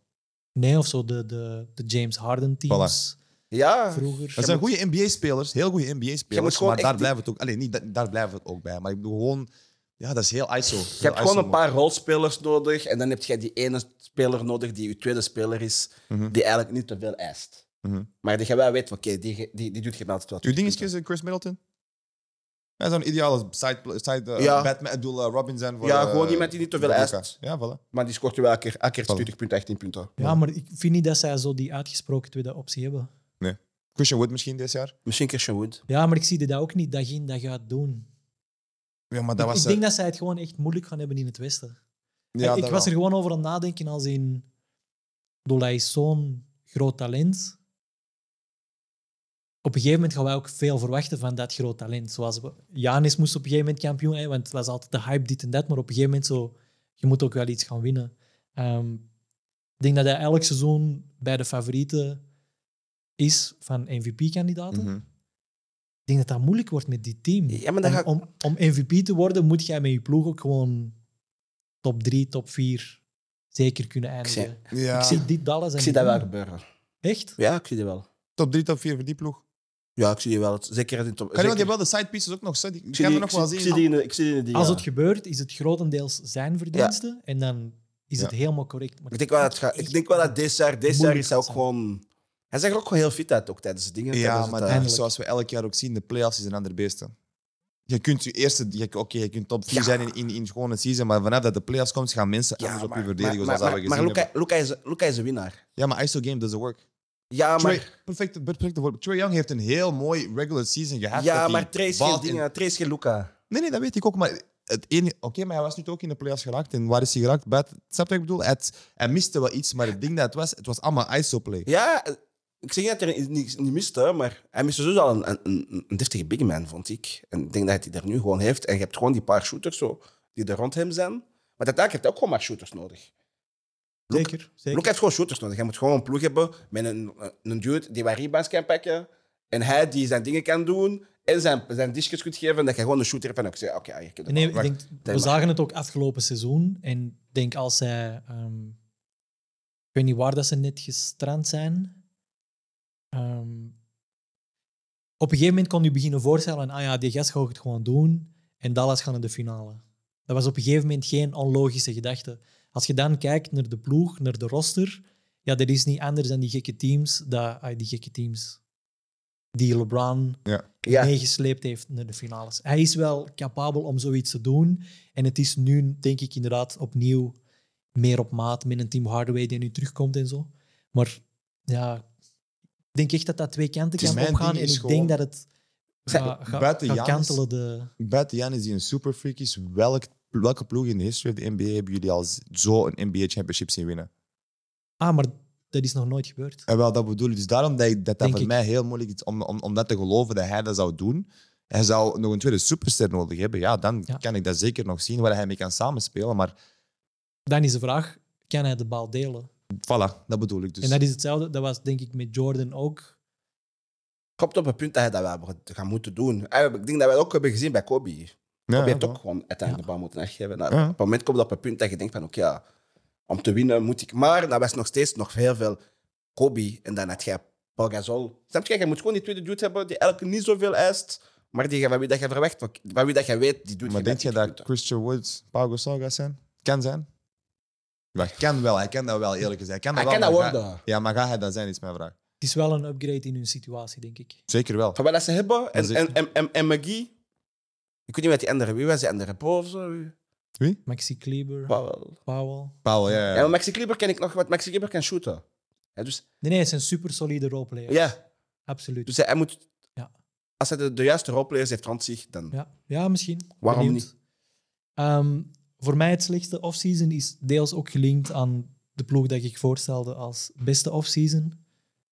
Nee, of zo, de, de, de James Harden teams Ja, vroeger. Dat zijn goede NBA-spelers, heel goede moet NBA-spelers, gewoon maar daar echt- blijven het ook... Allee, niet, da- daar blijven het ook bij. Maar ik bedoel gewoon... Ja, dat is heel ISO. je hebt gewoon een paar rolspelers nodig en dan heb je die ene speler nodig die je tweede speler is, die eigenlijk niet te veel eist. Mhm. Maar die je wel weet, van, oké, die, ge- die, die doet je wel altijd wat. Uw ding is eh, Chris Middleton? Hij zou een ideale side, side eh, Ja. Batman, ik bedoel, eh, Robin zijn voor... Ja, eh, gewoon iemand die niet te veel voor eist. Luka. Ja, voilà. Maar die scoort je wel elke keer, elke keer Voilà. 20 punten, 18 punten. Ja, maar ik vind niet dat zij zo die uitgesproken tweede optie hebben. Christian Wood misschien dit jaar. Misschien Christian Wood. Ja, maar ik zie dat ook niet dag in dag uit doen. Ja, maar dat Ik- was... ik eh, denk dat zij het gewoon echt moeilijk gaan hebben in het Westen. ja, ik dat was wel. er gewoon over aan het nadenken als in... ik bedoel, Hij is zo'n groot talent. Op een gegeven moment gaan wij ook veel verwachten van dat groot talent. Zoals we- Janis moest op een gegeven moment kampioen zijn, want het was altijd de hype dit en dat. Maar op een gegeven moment zo, je moet ook wel iets gaan winnen. Ehm, ik denk dat hij elk seizoen bij de favorieten is van MVP-kandidaten. Mhm. Ik denk dat dat moeilijk wordt met dit team. Ja, maar dan om, ga ik- om, om MVP te worden, moet jij met je ploeg ook gewoon top 3, top 4 zeker kunnen eindigen. Ik zie- zie, Ja. dit Dallas en Ik zie dit dat wel doen. gebeuren. Echt? Ja, ik zie die wel. Top 3, top 4 voor die ploeg. Ja, ik zie die wel. Zeker in de top. Kan je zeker- wel, die wel de side pieces ook nog zo, Die die kan Ik zie er die, nog ik wel zie, ik zie zien. die in de- ik zie die in de- Als ja. het gebeurt, is het grotendeels zijn verdiensten. En dan is het helemaal correct. Maar Ik denk wel dat, het gaat- ik denk wel dat dit jaar, dit jaar Moeilijk is hij ook gaat gewoon. Hij zag er ook gewoon heel fit uit ook tijdens de dingen. Ja, tijdens maar dan, het, eh, uiteindelijk. zoals we elk jaar ook zien, de playoffs is een ander beest. hè. Je kunt je eerste, je- oké, je kunt top 4 Ja. zijn in, in, in gewoon een season, maar vanaf dat de playoffs komt, gaan mensen ja, anders op je maar- verdedigen, maar- zoals dat we maar- gezien Maar Luca- hebben. Luca is- Luca is een winnaar. Ja, maar ISO game doesn't work. Ja, Trae- maar. perfect, perfect voorbeeld. Trae Young heeft een heel mooi regular season gehad. dat Ja, hij maar Trace is baalt geen in- dingen. Trace is geen Luca. Nee, nee, dat weet ik ook. Maar het enige... Oké, maar hij was nu ook in de playoffs geraakt. En waar is hij geraakt? Bij het... Snap je wat ik bedoel? Het... Hij miste wel iets, maar het ding dat het was, het was allemaal ISO-play. Ja, eh, ik zeg niet dat hij niet, niet miste, maar hij miste sowieso al een, een, een, een deftige big man, vond ik. En ik denk dat hij die er nu gewoon heeft. En je hebt gewoon die paar shooters zo, die er rond hem zijn. Maar uiteindelijk heb je ook gewoon maar shooters nodig. zeker. zeker. Luca heeft gewoon shooters nodig. Hij moet gewoon een ploeg hebben met een, eh, een dude die wat rebounds kan pakken. En hij die zijn dingen kan doen. En zijn, zijn discus kunt geven. Dat je gewoon een shooter hebt. En ik zeg, oké, ah, hier kun je de Nee, bal. ik denk, we maar. zagen het ook afgelopen seizoen. En ik denk als zij... ehm, ik weet niet waar dat ze net gestrand zijn. Ehm, op een gegeven moment kon je beginnen voorstellen... Ah ja, die gast gaat het gewoon doen. En Dallas gaan naar de finale. Dat was op een gegeven moment geen onlogische gedachte. Als je dan kijkt naar de ploeg, naar de roster... Ja, dat is niet anders dan die gekke teams. Dat, ah, die gekke teams. die LeBron Ja. Ja. meegesleept heeft naar de finales. Hij is wel capabel om zoiets te doen. En het is nu, denk ik, inderdaad opnieuw meer op maat met een Team Hardaway die nu terugkomt en zo. Maar ja, ik denk echt dat dat twee kanten Het is kan mijn opgaan. En ding ik is denk gewoon- dat het ga, ga, buiten gaat Giannis- kantelen. De, Buiten Janis die een superfreak is, welk, welke ploeg in de history of de NBA hebben jullie al z- zo een NBA championship zien winnen? ah, maar dat is nog nooit gebeurd. En wel, dat bedoel ik. Dus daarom dat, ik, dat, dat Denk voor ik. mij heel moeilijk is om, om, om dat te geloven dat hij dat zou doen. Hij zou nog een tweede superster nodig hebben. Ja, dan Ja. kan ik dat zeker nog zien waar hij mee kan samenspelen. Maar Dan is de vraag, kan hij de bal delen? voilà, dat bedoel ik dus. En dat is hetzelfde, dat was denk ik met Jordan ook. Komt op een punt dat hij dat wel moet- gaat moeten doen. En Ik denk dat we dat ook hebben gezien bij Kobe. Kobe Ja, ja, heeft ook voilà. gewoon uiteindelijk de bal moeten weggeven. Nou, Ja. Op het moment komt dat op een punt dat je denkt van oké, ja, om te winnen moet ik. Maar dat was nog steeds nog heel veel Kobe en dan had jij Paul Gasol. Snap je? Je moet gewoon die tweede dude hebben die elke niet zoveel eist, maar die, van wie dat je verwacht, van wie dat je weet, die doet Maar je denk je met dat die punten. Christian Woods Pau Gasol gaat zijn? Kan zijn? Maar kan wel, hij kan dat wel, eerlijk gezegd. Hij kan Hij dat, kan wel, dat maar ga- worden. Ja, maar gaat hij dat zijn, is mijn vraag. Het is wel een upgrade in hun situatie, denk ik. Zeker wel. Van wat dat ze hebben. En, zeker. en, en, en, en McGee. Ik weet niet wat die andere... Wie was die andere? Bo of zo? Wie? Maxi Kleber, Powell. Powell. Paul, ja. Ja, maar Maxi Kleber ken ik nog. Want Maxi Kleber kan shooten. Ja, dus, Nee, nee, het zijn super solide roleplayer. ja, Absoluut. dus hij, hij moet... Ja. Als hij de, de juiste roleplayers heeft rond zich, dan... ja. ja, misschien. Waarom niet? voor mij het slechtste offseason is deels ook gelinkt aan de ploeg dat ik voorstelde als beste offseason.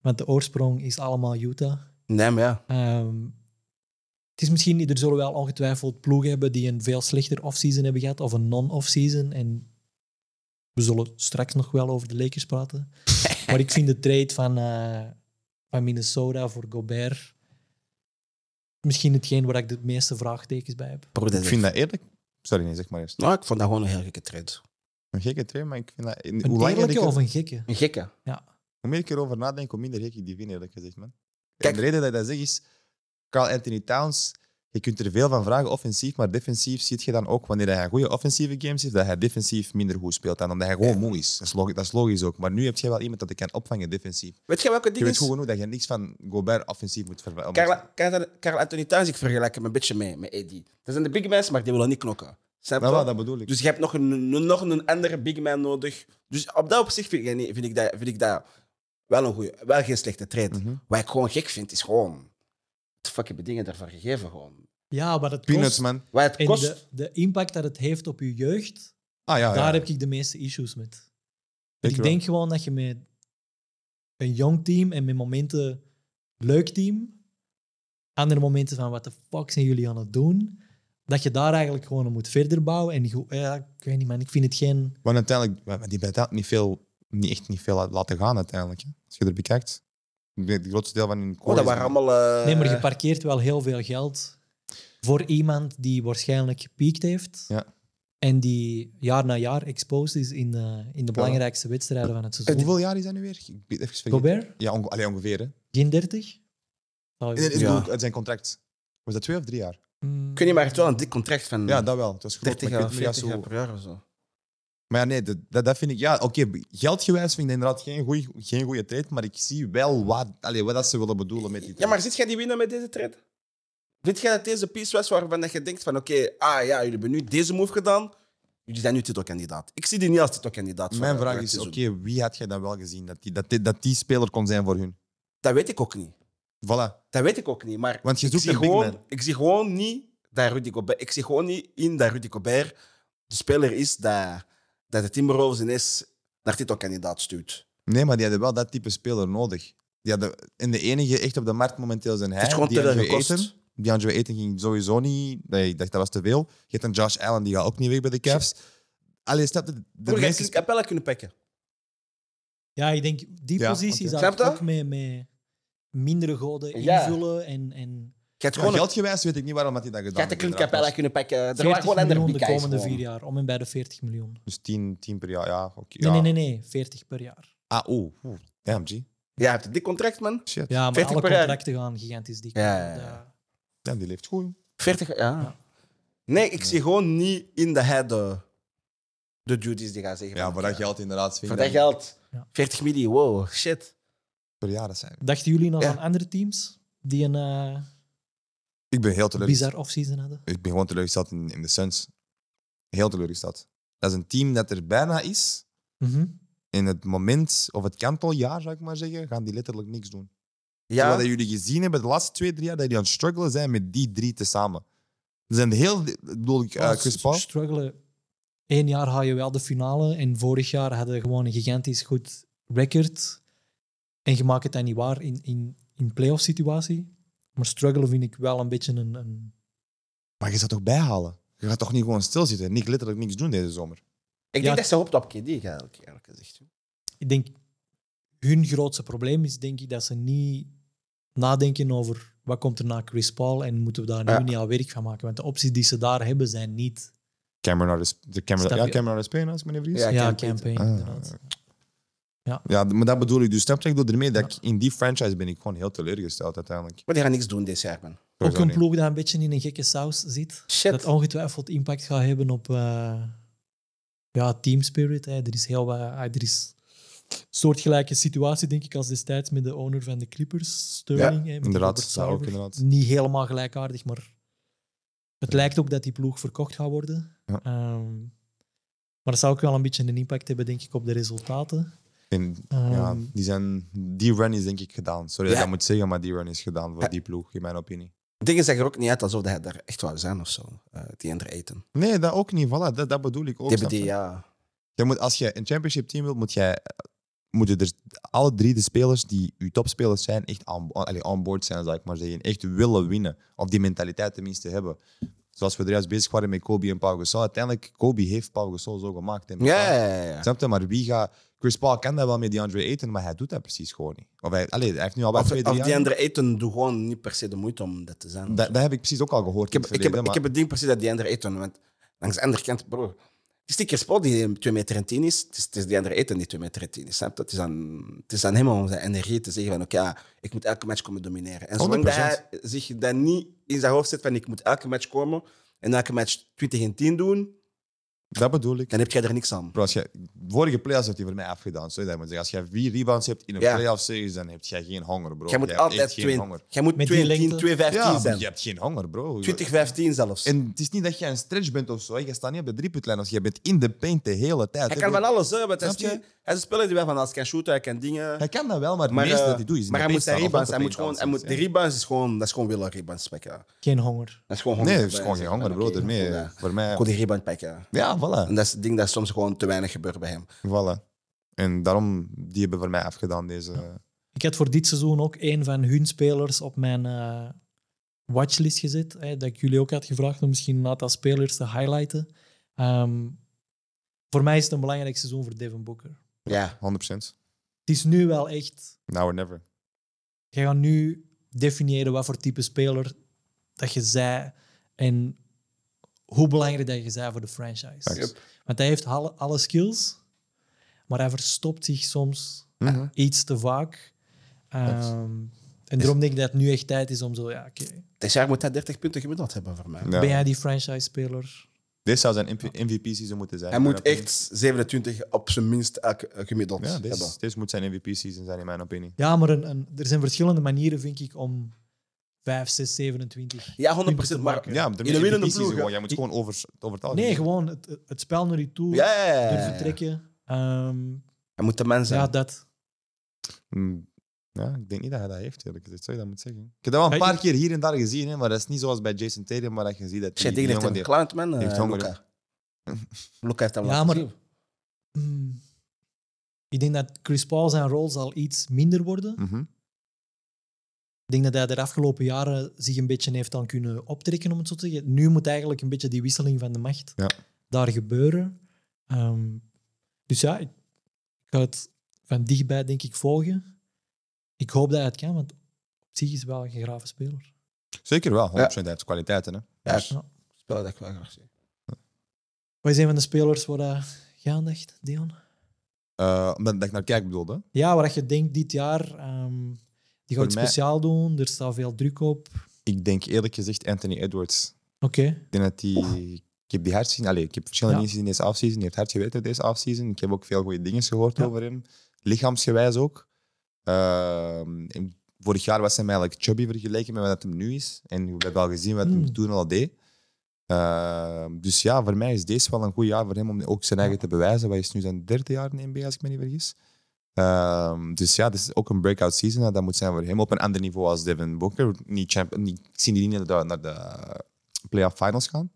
Want de oorsprong is allemaal Utah. Nee, maar ja. Ehm, het is misschien, niet- er zullen wel ongetwijfeld ploegen hebben die een veel slechter offseason hebben gehad of een non-offseason. En we zullen straks nog wel over de Lakers praten. maar ik vind de trade van, eh, van Minnesota voor Gobert misschien hetgeen waar ik de meeste vraagtekens bij heb. Broer, dat Ik is- vind dat eerlijk. Sorry, nee, zeg maar eerst. Nou, ik vond dat gewoon een heel gekke trade. Een gekke train, maar ik vind dat... in- Een hoe, langer ik eerlijke er, of een gekke? Een gekke. hoe meer ik erover nadenk, hoe minder gek ik die vind, eerlijk gezegd, man. Kijk- En de reden dat ik dat zeg is... Carl Anthony Towns, je kunt er veel van vragen, offensief, maar defensief ziet je dan ook, wanneer hij goede offensieve games heeft, dat hij defensief minder goed speelt dan omdat hij gewoon moe is. Dat is logisch, dat is logisch ook. Maar nu heb je wel iemand dat ik kan opvangen defensief. Weet je welke Je ding weet goed is? genoeg dat je niks van Gobert offensief moet verwachten. Carl, Carl, Carl Anthony Towns, ik vergelijk hem een beetje mee met Eddie. Dat zijn de big men, maar die willen niet knokken. Snap je? Nou, wel, dat bedoel ik. Dus je hebt nog een, een- nog een andere big man nodig. Dus op dat opzicht vind ik, niet- vind ik, dat, vind ik dat wel een goede, wel geen slechte trade. Mhm. Wat ik gewoon gek vind, is gewoon... Wat de fuck hebben dingen daarvoor gegeven, gewoon? Ja, maar dat Peanuts, kost. man. Wat het En kost... de, de impact dat het heeft op je jeugd, Ah ja, daar heb ik de meeste issues met. ik ik denk gewoon dat je met een jong team en met momenten leuk team, andere momenten van wat de fuck zijn jullie aan het doen, dat je daar eigenlijk gewoon aan moet verder bouwen. En go- ja, ik weet niet, man, ik vind het geen. Want uiteindelijk, maar die bent niet veel, niet echt niet veel uit laten gaan uiteindelijk. hè. Als je er bekijkt. Ik denk Het grootste deel van hun Oh, core dat is- waren allemaal... eh, Nee, maar je parkeert wel heel veel geld voor iemand die waarschijnlijk gepiekt heeft. Ja. En die jaar na jaar exposed is in de, in de belangrijkste wedstrijden van het seizoen. Hoeveel jaar is dat nu weer? Ik ben even vergeten. Eh, Gobert? Ja, onge allee, ongeveer. Hè. Geen 30? Zou je- In, in- Ja. bedoel, uit zijn contract. Was dat twee of drie jaar? Mm. Kun je maar het wel een dik contract van Ja, dat wel. Het was groot, 30 maar ik jaar, weet niet juist 40 jaar hoe... per jaar of zo. Maar ja, nee, dat, dat, dat vind ik... Ja, oké, geldgewijs vind ik dat inderdaad geen goede geen goeie trade, maar ik zie wel wat, allee, wat dat ze willen bedoelen met die Ja, trade. maar zit jij die winnen met deze trade? Vind jij dat deze piece was waarvan dat je denkt van oké, ah ja, jullie hebben nu deze move gedaan, jullie zijn nu titelkandidaat. Ik zie die niet als titelkandidaat. voor- Mijn voor vraag het is, oké, seizoen. wie had jij dan wel gezien dat die, dat, die, dat die speler kon zijn voor hun? Dat weet ik ook niet. Voilà. Dat weet ik ook niet. Maar Want je ik, zoekt zie een big gewoon, man. ik zie gewoon niet dat Rudy Gobert. Ik zie gewoon niet in dat Rudy Gobert de speler is dat, dat de Timberwolves ineens naar titelkandidaat stuurt. Nee, maar die hadden wel dat type speler nodig. Die hadden, en de enige echt op de markt momenteel zijn het is hij. gewoon te Die veel Andrew gekost. Ayton. Die Andrew Ayton ging sowieso niet. Nee, ik dacht dat was te veel. Je hebt een Josh Allen, die gaat ook niet weg bij de Cavs. Allee, snap je? De Broer, jij meeste hebt Capella kunnen pakken. Ja, ik denk die Ja, positie oké. zou ik Snap je? ook met, met mindere goden Ja. invullen. En, en Je hebt sp- ja, gewoon geldgewijs weet ik niet waarom dat hij dat je gedaan had de heeft. Clint inderdaad. Capella kunnen pakken. Er waren 40 gewoon andere miljoen big de guys komende gewoon. vier jaar. Om en bij de 40 miljoen. Dus 10, 10 per jaar, ja. oké. Nee, ja. nee, nee, nee, 40 per jaar. Ah, oeh. oeh. Damn, G. Ja, je hebt een dik contract, man. Shit. Ja, maar 40 alle per jaar. contracten gaan gigantisch dik. Eh, Ja, ja, ja. Ja. Damn, die leeft goed. 40 jaar. Ja. Nee, ik zie gewoon niet in de head de, de duties die gaan zeggen. Ja, van, voor dat oké, geld inderdaad. vind Voor ik dat dan- geld. Ja. 40 miljoen, wow, shit. Per jaar, dat zijn. Dachten jullie nog Ja. aan andere teams? die een eh, Ik ben heel teleurgesteld. bizar offseason hadden. Ik ben gewoon teleurgesteld in, in de Suns. Heel teleurgesteld. Dat is een team dat er bijna is. Mhm. In het moment, of het kanteljaar zou ik maar zeggen, gaan die letterlijk niks doen. Ja, Wat jullie gezien hebben de laatste twee, drie jaar, dat die aan het struggelen zijn met die drie tezamen. Er zijn heel, ik bedoel ik, eh, Als Chris Paul. Struggelen. Eén jaar haal je wel de finale en vorig jaar hadden we gewoon een gigantisch goed record. En je maakt het dan niet waar in, in, in playoff situatie. Maar struggelen vind ik wel een beetje een... een Maar je zou toch bijhalen? Je gaat toch niet gewoon stilzitten? Niet letterlijk niks doen deze zomer. ik denk Ja. dat ze hoopt op KD, eigenlijk, eerlijk gezegd. ik denk, hun grootste probleem is denk ik dat ze niet nadenken over wat komt er na Chris Paul en moeten we daar nu Ja. niet al werk van maken. Want de opties die ze daar hebben zijn niet... Cameron Harris, de Cameron, Snap ja, je? Cameron Harris Payne, als ik me niet vergis. Ja, Ja, campaign. campaign, Ah. inderdaad. Ja, maar dat bedoel ik. Dus snap je, ik bedoel ermee dat Ja. ik in die franchise ben ik gewoon heel teleurgesteld uiteindelijk. Maar die gaan niks doen dit jaar, man. Ook Sowieso een niet. ploeg dat een beetje in een gekke saus zit. Shit. Dat ongetwijfeld impact gaat hebben op eh, ja, team spirit. Hè. Er is heel wat, ah, er is een soortgelijke situatie, denk ik, als destijds met de owner van de Clippers, Sterling. hè, met inderdaad, Robert daar ook Sarver. inderdaad. Niet helemaal gelijkaardig, maar het lijkt ook dat die ploeg verkocht gaat worden. Ja. Ehm, maar dat zou ook wel een beetje een impact hebben, denk ik, op de resultaten. En Ehm, Ja, die, zijn, die run is denk ik gedaan. Sorry dat Ja. ik dat moet zeggen, maar die run is gedaan voor Ja. die ploeg, in mijn opinie. Dingen zeggen er ook niet uit alsof hij daar echt wou zijn of zo. eh, die andere eten. Nee, dat ook niet. Voilà, dat, dat bedoel ik ook. Die snap hebben die, je? ja. Jij moet, als je een championship team wilt, moet jij, moeten er alle drie de spelers die je topspelers zijn, echt aan, allee, aan boord zijn, zou ik maar zeggen. Echt willen winnen. Of die mentaliteit tenminste hebben. Zoals we er juist bezig waren met Kobe en Pau Gasol. Uiteindelijk, Kobe heeft Pau Gasol zo gemaakt. hè, met Ja, Pau. ja, ja, ja. Snap je? Maar wie gaat... Chris Paul kan dat wel met die Andre Ayton, maar hij doet dat precies gewoon niet. Of hij, allee, hij heeft nu al wel Of, twee, of drie jaar... die andere eten doet gewoon niet per se de moeite om dat te zijn. Dat, dat heb ik precies ook al gehoord ik, heb, in het ik, heb, verleden, ik maar- heb het ding precies dat die andere eten. Want langs de andere kant, broer. Het is die Chris Paul die 2 meter en 10 is. Het is, het is die andere eten die 2 meter en 10 is. Snap je? Het is aan, het is aan hem om zijn energie te zeggen van oké, ja, ik moet elke match komen domineren. En zolang dat hij zich dat niet in zijn hoofd zet van ik moet elke match komen en elke match 20 en 10 doen, Dat bedoel ik. dan heb jij er niks aan. Bro, als jij, vorige playoffs heeft hij voor mij afgedaan. Sorry dat ik moet zeggen. Als jij vier rebounds hebt in een Ja. playoff series, dan heb jij geen honger, bro. Jij moet Jij hebt altijd echt geen 2 honger. Jij moet Met 2 die 10, lengte. 2 15 Ja, maar zijn. je hebt geen honger, bro. 20 15 zelfs. En het is niet dat jij een stretch bent of zo. hè. Je staat niet op de driepuntlijn. Als je bent in de paint de hele tijd. hij hè, kan bro. van alles, hè, want hij is, Snap je? niet- hij is een speler die wel van alles kan shooten, hij kan dingen. Hij kan dat wel, maar het Maar, meeste eh, dat hij doet is in de maar hij paint moet zijn staan of rebounds, op hij de moet gewoon, paint hij moet, de staan, hè. rebounds is gewoon, dat is gewoon willen rebounds pakken. ja. Geen honger. Dat is gewoon Nee, honger het is gewoon bij geen hem. honger, bro. Oké, Daarmee, goed, ja. Voor mij. Gewoon die rebound pakken. ja. Ja, voilà. En dat is het ding dat soms gewoon te weinig gebeurt bij hem. voilà. En daarom, die hebben voor mij afgedaan, deze... Ik had voor dit seizoen ook een van hun spelers op mijn eh, watchlist gezet. Hè, dat ik jullie ook had gevraagd om misschien een aantal spelers te highlighten. Ehm, voor mij is het een belangrijk seizoen voor Devin Booker. Ja. 100%. Het is nu wel echt. Now or never. Je gaat nu definiëren wat voor type speler dat je zij en hoe belangrijk dat je zij voor de franchise. Facts. Want hij heeft alle, alle skills, maar hij verstopt zich soms Mhm. iets te vaak. Ehm, en daarom denk ik dat het nu echt tijd is om zo, ja, oké. Dit jaar moet hij 30 punten gemiddeld hebben voor mij. Ja. Ben jij die franchise-speler? Dit zou zijn MVP-season moeten zijn. Hij moet echt 27 op zijn minst elk- eh, gemiddeld Ja, hebben. deze, deze moet zijn MVP-season zijn, in mijn opinie. Ja, maar een, een, er zijn verschillende manieren, vind ik, om 5, 6, 27. Ja, 100%. Maar Ja, Ja, in de winnende MVP-season ploeg, gewoon. ja. Jij moet gewoon over, over het algemeen. Nee, gewoon het, het spel naar je toe ja, ja, ja, durven ja, ja. trekken. Ehm, Hij moet de man zijn. ja, dat. Mm, Ja, ik denk niet dat hij dat heeft, eerlijk gezegd. Zou je dat moeten zeggen? Ik heb dat wel een Ja, paar keer hier en daar gezien, hè, maar dat is niet zoals bij Jason Tatum, maar dat je ziet dat Shit, die heeft jongen hem die- geclowned, man. heeft eh, honger, Luca. Luca heeft hem Ja, laten maar- zien. Mm. Ik denk dat Chris Paul zijn rol zal iets minder worden. Mhm. Ik denk dat hij de afgelopen jaren zich een beetje heeft aan kunnen optrekken, om het zo te zeggen. Nu moet eigenlijk een beetje die wisseling van de macht Ja. daar gebeuren. Ehm, dus ja, ik ga het van dichtbij denk ik volgen. Ik hoop dat hij het kan, want op zich is hij wel een grave speler. Zeker wel, 100% hij heeft kwaliteiten. Hè. Ja, Dus- Ja. Spel dat ik wel graag zie. Wat is een van de spelers waar eh, jij aan dacht, Dion? Eh, omdat dat ik naar kijk bedoelde. Ja, waar je denkt dit jaar, ehm, die Voor gaat iets mij- speciaal doen, er staat veel druk op. Oké. Ik denk eerlijk gezegd Anthony Edwards. Ik denk dat die... Ik heb die hard zien. Allee, ik heb verschillende Ja. dingen gezien deze offseason. Die heeft hard geweten deze offseason. Ik heb ook veel goede dingen gehoord Ja. over hem. Lichaamsgewijs ook. Ehm, ik vorig jaar was hij eigenlijk chubby vergeleken met wat hem nu is. En we hebben al gezien wat hij Mm. toen al deed. Eh, dus ja, voor mij is deze wel een goed jaar voor hem om ook zijn eigen te bewijzen. Hij is nu zijn derde jaar in de NBA, als ik me niet vergis. Ehm, dus ja, dit is ook een breakout season. en Dat moet zijn voor hem op een ander niveau als Devin Booker. Niet champion, niet, ik zie die niet naar de, naar de playoff finals gaan.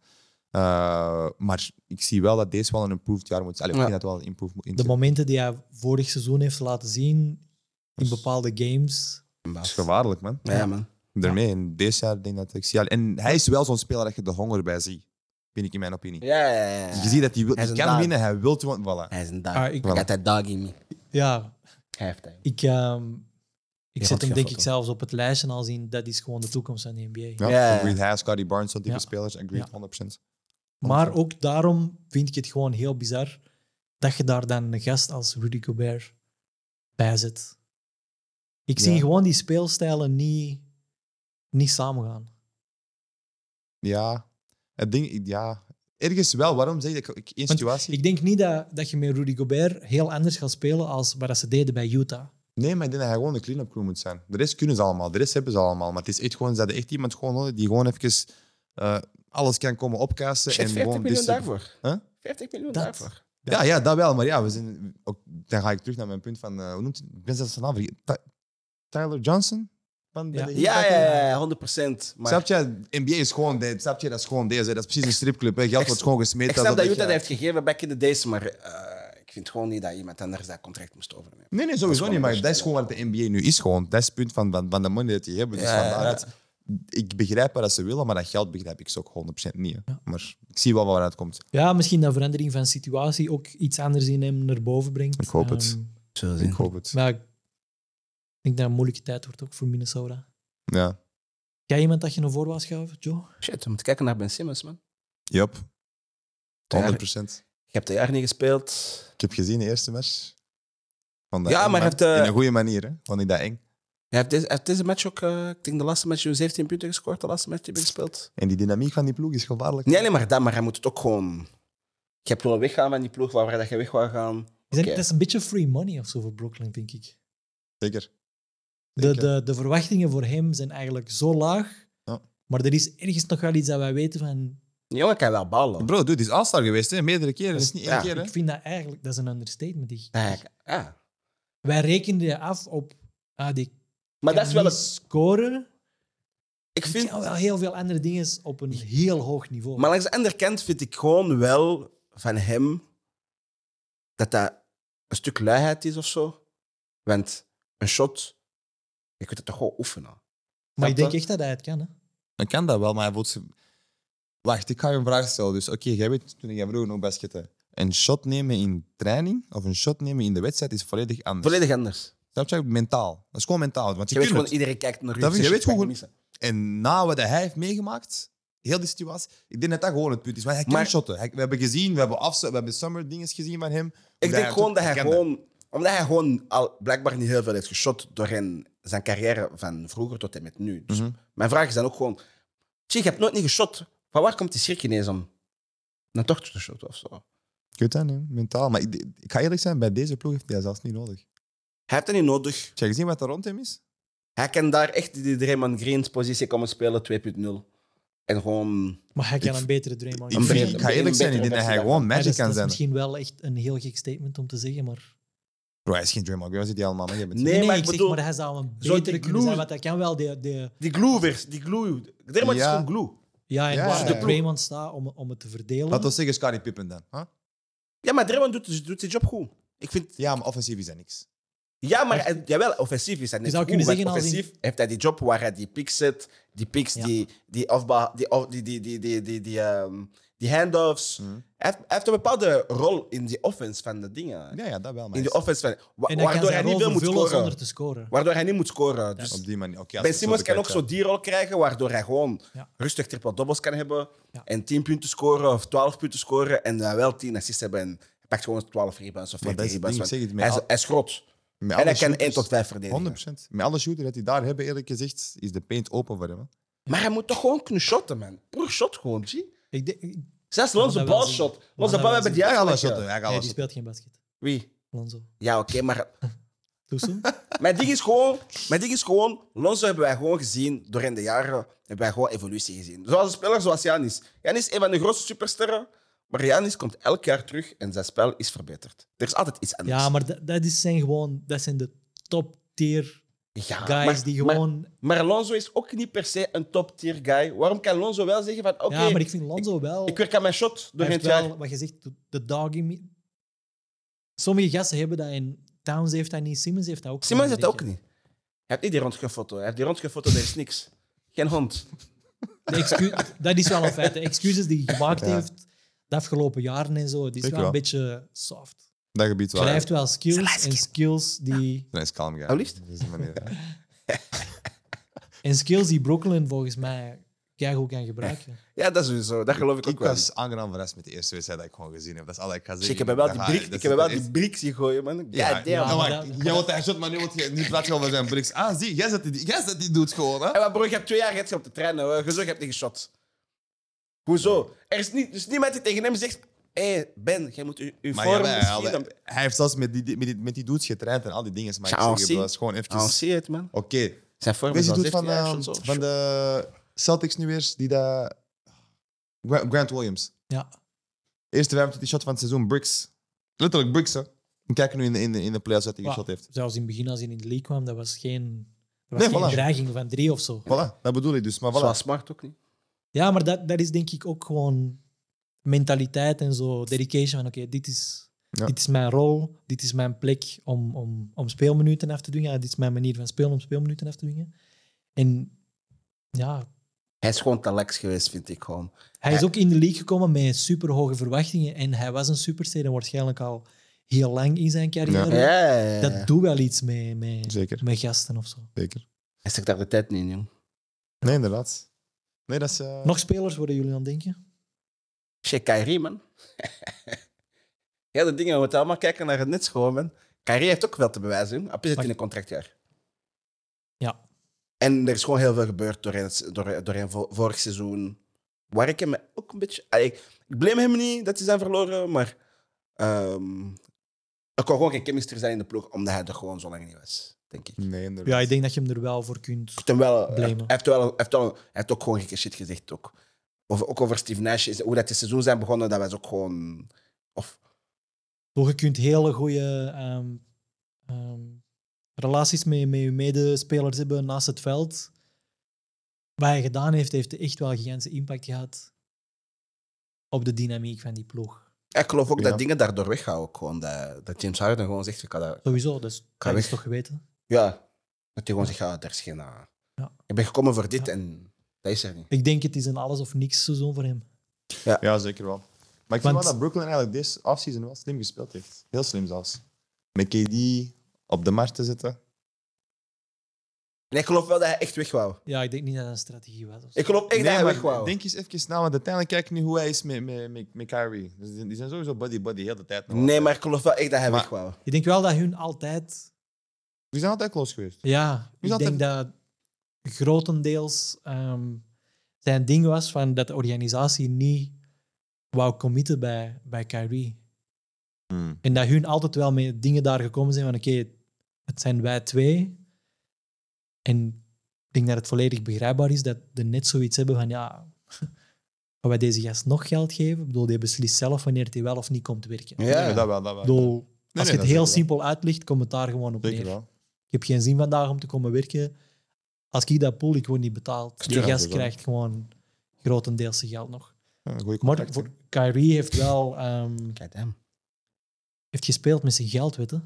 Eh, maar ik zie wel dat deze wel een improved jaar moet zijn. Allee, ik Ja. vind dat wel een improved moet De momenten die hij vorig seizoen heeft laten zien in bepaalde games. Dat is gevaarlijk, man. Ja, man. Daarmee, in deze jaar denk ik dat ik zie. En hij is wel zo'n speler dat je de honger bij ziet. Vind ik in mijn opinie. Ja, ja, ja, ja. Je ziet dat hij, wil, Hij is hij een kan daan. winnen, hij wil te voilà. Hij is een dog. Ah, Hij ik, Voilà. had dat dog in me. Ja, Hij heeft dat. ik, ehm, ik Ja, zet want hem je denk foto. ik zelfs op het lijstje al zien. Dat is gewoon de toekomst van de NBA. Ja, Ja. Agreed, hij, Scotty Barnes, zo'n type Ja. spelers. Agreed, 100%. Maar ook daarom vind ik het gewoon heel bizar dat je daar dan een gast als Rudy Gobert bij zet. Ik zie Ja. gewoon die speelstijlen niet, niet samengaan. Ja, het ding, ja. Ergens wel, waarom zeg je dat? Ik, één Want situatie. Ik denk niet dat, dat je met Rudy Gobert heel anders gaat spelen als wat dat ze deden bij Utah. Nee, maar ik denk dat hij gewoon de clean-up crew moet zijn. De rest kunnen ze allemaal, de rest hebben ze allemaal. Maar het is echt gewoon, ze hadden echt iemand gewoon nodig die gewoon even eh, alles kan komen opkasten. Shit, en 40 gewoon miljoen distrib- daarvoor. Huh? 40 miljoen Dat. daarvoor. Ja, ja, dat wel. Maar ja, we zijn, ook, dan ga ik terug naar mijn punt van... eh, hoe noemt hij? Ik ben zelfs zijn naam vergeten. Ty- Tyler Johnson? Van, bij Ja. de Heat, Ja, I think. ja, ja, 100 procent. Maar Snap je? NBA is gewoon dit. Snap je? Dat is gewoon deze. Dat is precies een stripclub. Hè. Geld Ik- wordt gewoon gesmeed. ik snap alsof dat Utah dat je- heeft gegeven back in the days, maar eh, ik vind gewoon niet dat iemand anders dat contract moest overnemen. Nee, nee, is sowieso gewoon niet. Maar een dat is gewoon wat de NBA nu is. Gewoon. Dat is het punt van, van, van de money dat die hebben. Dus Ja, ja, vandaar ja. dat- Ik begrijp wat ze willen, maar dat geld begrijp ik ze ook 100% niet. hè. Maar ik zie wel waar het komt. Ja, misschien dat verandering van situatie ook iets anders in hem naar boven brengt. Ik hoop het. Ehm, Ik hoop het. maar ik denk dat het een moeilijke tijd wordt ook voor Minnesota. Ja. Jij iemand dat je naar voren wou schuiven, Joe? Shit, we moeten kijken naar Ben Simmons, man. Yup. 100%. Je hebt een jaar niet gespeeld. Ik heb gezien de eerste match. Vond dat Ja, eng, maar man. het, eh, In een goede manier, hè? Vond ik dat eng. Hij heeft deze, hij heeft deze match ook, eh, ik denk de laatste match, zo'n 17 punten gescoord, de laatste match die we gespeeld. En die dynamiek van die ploeg is gevaarlijk. Niet alleen maar dat, maar hij moet het ook gewoon... Je hebt willen weggaan van die ploeg waar dat je weg wou gaan. Is dat- Oké. Dat is een beetje free money of zo voor Brooklyn, denk ik. Zeker. De, Denk, de, de verwachtingen voor hem zijn eigenlijk zo laag. Ja. Maar er is ergens nog wel iets dat wij weten van... Die jongen kan wel ballen. Bro, dude, die is All-Star geweest, hè? meerdere keren. Dat is niet één Ja. keer. Hè? Ik vind dat eigenlijk... Dat is een understatement. Die, Ja, ja. Wij rekenden je af op... Ah, die Maar kan dat is wel niet het... scoren. Ik Ik vind... kan wel heel veel andere dingen op een heel hoog niveau. Maar langs de andere kant vind ik gewoon wel van hem dat dat een stuk luiheid is of zo. Want een shot, je kunt het toch gewoon oefenen. Maar ik Snap denk echt dat hij het kan. Hè? Dan kan dat wel, maar hij voelt zich... Wacht, ik ga je een vraag stellen. Dus oké, jij weet, toen jij vroeger nog basketten, een shot nemen in training of een shot nemen in de wedstrijd is volledig anders. Volledig anders. Snap je? Mentaal. Dat is gewoon mentaal. Want je, Je weet kunt gewoon, het. iedereen kijkt naar u. Dat vind Zeg, je shit, weet ik gewoon- mag missen. En na wat hij heeft meegemaakt, heel die situatie, ik denk dat dat gewoon het punt is. Maar hij kan Maar- shotten. Hij- we hebben gezien, we hebben, afs- we hebben summer dinges gezien van hem. Ik denk gewoon dat hij kan gewoon... Omdat hij gewoon al blijkbaar niet heel veel heeft geschot doorheen zijn carrière van vroeger tot en met nu. Dus Mhm. mijn vraag is dan ook gewoon... Zie, je hebt nooit niet geschot. Van waar komt die schrik ineens om een dochter te shotten of zo? Ik weet dat niet, mentaal. Maar ik, ik ga eerlijk zijn, bij deze ploeg heeft hij zelfs niet nodig. Hij heeft dat niet nodig. Heb je gezien wat er rond hem is? Hij kan daar echt die Draymond Greens positie komen spelen, 2.0. En gewoon... Maar hij kan Ik- een betere Draymond Ik, Een vind- betere- ik ga eerlijk zijn, ik denk dat hij gewoon Maar dat magic is- dus kan Dat zijn. is misschien wel echt een heel gek statement om te zeggen, maar... Bro, hij is geen Draymond Green, hij zit die allemaal mee. Nee, Nee, maar ik ik zeg bedoel, maar hij zou een zo die betere kunnen glue- zijn, want hij kan wel de, de, Die glue weer, die glue. Draymond Ja. is gewoon glue. ja, en Ja, waar ja, de ja. Draymond staat om, om het te verdelen. Laten we zeggen Scottie Pippen dan. Huh? Ja, maar Draymond doet, doet zijn job goed. Ik vind... Ja, maar offensief is dat niks. Ja, maar hij- jawel, offensief is hij net Je zou goed, kunnen want zeggen als hij- offensief heeft hij die job waar hij die picks zet, die picks, Ja. die, die, afba, die, af- die, die, die, die, die, die, ehm, die handoffs. Mhm. Hij, heeft, hij heeft een bepaalde rol in die offense van de dingen. Ja, ja dat wel. Maar in de is- offense van... wa- en hij kan waardoor hij zijn niet rol veel moet vervullen scoren. zonder te scoren. Waardoor hij niet moet scoren. Dus op die manier. Oké, als je Ben het zo Simmons kan ook bekijkt, zo die rol krijgen, waardoor hij gewoon Ja. rustig triple-doubles kan hebben Ja. en 10 punten scoren of 12 punten scoren en dan wel 10 assists hebben en hij pakt gewoon 12 rebounds of Maar 14 dat is het rebounds. ding, ik zeg het, want Hij is, met hij is groot ja. Met en alle hij kan 1 shooters, tot 5 verdedigen. 100%. Met alle shooter dat die daar hebben, eerlijk gezegd, is de paint open voor hem. hè. Maar hij moet toch gewoon kunnen shotten, man. Puur shot gewoon, zie. Ik denk, ik- Zelfs Ja, Lonzo dat wel Ball zien. shot. dat Lonzo Ball wel hebben zien. die Hij gaat wel uitgelegd. shotten. Hij gaat nee, wel die speelt shotten. geen basket. Wie? Lonzo. Ja, oké, maar Doe zo. Mijn ding is gewoon, mijn ding is gewoon Lonzo hebben wij gewoon gezien doorheen de jaren, hebben wij gewoon evolutie gezien. Zoals een speler zoals Janis. Janis is een van de grootste supersterren, maar Janis komt elk jaar terug en zijn spel is verbeterd. Er is altijd iets anders. Ja, maar dat, dat is zijn gewoon... Dat zijn de top-tier Ja, guys Ah, maar- die maar- gewoon... Maar Lonzo is ook niet per se een top-tier guy. Waarom kan Lonzo wel zeggen van, oké, ja, maar ik, ik vind Lonzo wel... werk aan mijn shot hij doorheen het heeft jaar. wel, wat je zegt, de- de dog in me. Sommige gasten hebben dat en Towns heeft dat niet, Simmons heeft dat ook Simon niet, zit dat ook denk niet. Hij heeft niet die rondgefoto. Hij heeft die rondgefoto, er is niks. Geen hond. ik. De excu- dat is wel een feit. De excuses die hij gemaakt Ja. heeft de afgelopen jaren en zo, die is Zeker wel een wel. beetje soft. Dat gebied wel. Maar hij heeft wel skills Zelensky. en skills die... Dat is kalm, guy. Allicht? Dat is de manier. En skills die Brooklyn volgens mij keigoed kan gebruiken. Ja, dat is sowieso. Dat geloof ik ook Ik wel. was aangenaam verrast met de eerste wedstrijd dat ik gewoon gezien heb. Dat is al ik ga Dus zeggen. ik heb hem wel Dat die ga- brik, dat ik is heb hem wel het die briks zien gooien, man. Ja, Ja, ja, maar maar dat- jij wilt hij shot, maar nu, wilt je, nu praat je al over zijn bricks. Ah, zie, jij zet die, jij zet die doet gewoon, hè? En maar broer, je hebt twee jaar gehad op de trein. hoor. Hoezo, je hebt niet geshot. Hoezo? Er is niet, dus niemand die tegen hem zegt... Hé, hey, Ben, jij moet je, je Maar vorm jawel, hij, misschien... had- dan- hij heeft zelfs met die, die- met die, met die dudes getraind en al die dingen. Maar Ja, ik zeg je, zie. bro, dat is gewoon eventjes... Ah, zie je het, man. Oké. Zijn vorm Weet is je al die dude van, 17 jaar, ehm, zo. van de Celtics nu weer? Die dat... Gra- Grant Williams. Ja. Eerste 25 shot van het seizoen, bricks. Letterlijk bricks, hè? We kijken nu in de, in de, in de playoffs wat hij Maar geshot heeft. Zelfs in het begin, als hij in de league kwam, dat was geen, dat was Nee, geen voilà. dreiging van drie of zo. Voilà, dat bedoel ik dus. Maar voilà. Zoals Smart ook niet. Ja, maar dat, dat is denk ik ook gewoon mentaliteit en zo, dedication van oké, dit, is, Ja. dit is mijn rol, dit is mijn plek om, om, om speelminuten af te dwingen, Ja, dit is mijn manier van spelen om speelminuten af te dwingen. En ja, Hij is gewoon te lax geweest, vind ik gewoon. hij is ook in de league gekomen met superhoge verwachtingen en hij was een superster en waarschijnlijk al heel lang in zijn carrière. Ja, ja, ja. Dat doet wel iets met, met, Zeker, met gasten of zo. zeker. Hij stak daar de tijd niet in, jong. Nee, inderdaad. Nee, dat is... eh, Nog spelers worden jullie aan het denken? Shit, Kyrie, man. Heel de dingen, we moeten allemaal kijken naar het net gewoon, man. Kyrie heeft ook wel te bewijzen. jong. Hij zit in een contractjaar. Ja. En er is gewoon heel veel gebeurd doorheen, het- door- doorheen vo- vorig seizoen. Waar ik hem ook een beetje... Allee, Ik ik blame hem niet dat ze zijn verloren, maar... ehm, er kon gewoon geen chemistry zijn in de ploeg, omdat hij er gewoon zo lang niet was, denk ik. Nee, inderdaad. Ja, ik denk dat je hem er wel voor kunt. heeft hem wel, eh, hij Blamen. heeft- hij heeft wel, hij heeft wel, hij heeft ook gewoon gekke shit gezegd ook. Over, ook over Steve Nash, is- hoe dat het seizoen zijn begonnen, dat was ook gewoon. Of, Toch, je kunt hele goede ehm, ehm, relaties met, met je medespelers hebben naast het veld. Wat hij gedaan heeft, heeft echt wel een gigantische impact gehad op de dynamiek van die ploeg. ik geloof ook Ja. dat dingen daardoor weggaan ook gewoon. Dat, dat James Harden gewoon zegt, ik kan dat, Sowieso, dus Kan dat is weg. toch geweten. ja, dat hij gewoon zegt, ja, daar is geen. ah, Ja. Ik ben gekomen voor dit Ja. en dat is er niet. Ik denk het is een alles of niks seizoen voor hem. Ja, zeker wel. Maar ik vind Want- wel dat Brooklyn eigenlijk deze offseason wel slim gespeeld heeft. Heel slim zelfs. Met KD op de markt te zetten. En ik geloof wel dat hij echt weg wou. Ja, ik denk niet dat dat een strategie was. of zo. Ik geloof echt dat hij weg wou. denk eens even na, want uiteindelijk kijk nu hoe hij is met, met, met, met Kyrie. Dus die die zijn sowieso buddy-buddy heel de tijd. nog Nee, altijd. maar ik geloof wel echt dat hij Maar- weg wou. Ik denk wel dat hun altijd... Die zijn altijd close geweest. Ja, Is ik dat denk dat grotendeels ehm, zijn ding was van dat de organisatie niet wou committen bij, bij Kyrie. En dat hun altijd wel met dingen daar gekomen zijn van oké, het zijn wij twee. En ik denk dat het volledig begrijpbaar is dat de net zoiets hebben van ja, gaan wij deze gast nog geld geven? Ik bedoel, die beslist zelf wanneer hij wel of niet komt werken. Ja. Ik Nee, dat wel, dat wel. bedoel, nee, als je dat het heel zeker wel. simpel uitlegt, komt het daar gewoon op Zeker neer. wel. Ik heb geen zin vandaag om te komen werken. Als ik dat pool, ik word niet betaald. Die Ja, gast dat is wel. krijgt gewoon grotendeels zijn geld nog. Ja, goeie Maar contract. voor Kyrie heeft wel ehm, Kijk hem. heeft gespeeld met zijn geld, weet je.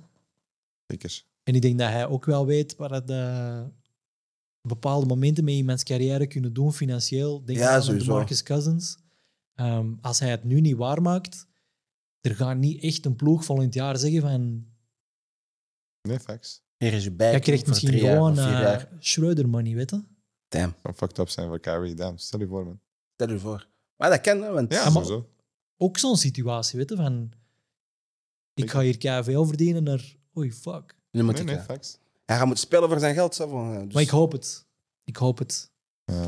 Zeker. En ik denk dat hij ook wel weet waar het eh, bepaalde momenten mee iemands carrière kunnen doen financieel. Denk Ja, aan de sowieso. Marcus Cousins. Ehm, als hij het nu niet waarmaakt, er gaat niet echt een ploeg volgend jaar zeggen van Nee, facts. Hier is je bij. jij krijgt voor misschien drie jaar gewoon of vier eh, jaar. Schreuder money, weet je. Damn, Zou fucked up zijn voor Kyrie. Damn, stel je voor, man. stel je voor. Maar dat kan, hè, want Ja, maar- sowieso. ook zo'n situatie, weet je, van ik Ik- ga hier KVL verdienen naar oei fuck. nu moet Nee, ik, nee, eh, facts. Hij gaat moeten spelen voor zijn geld. zo van, eh, dus- Maar ik hoop het. Ik hoop het. Ja,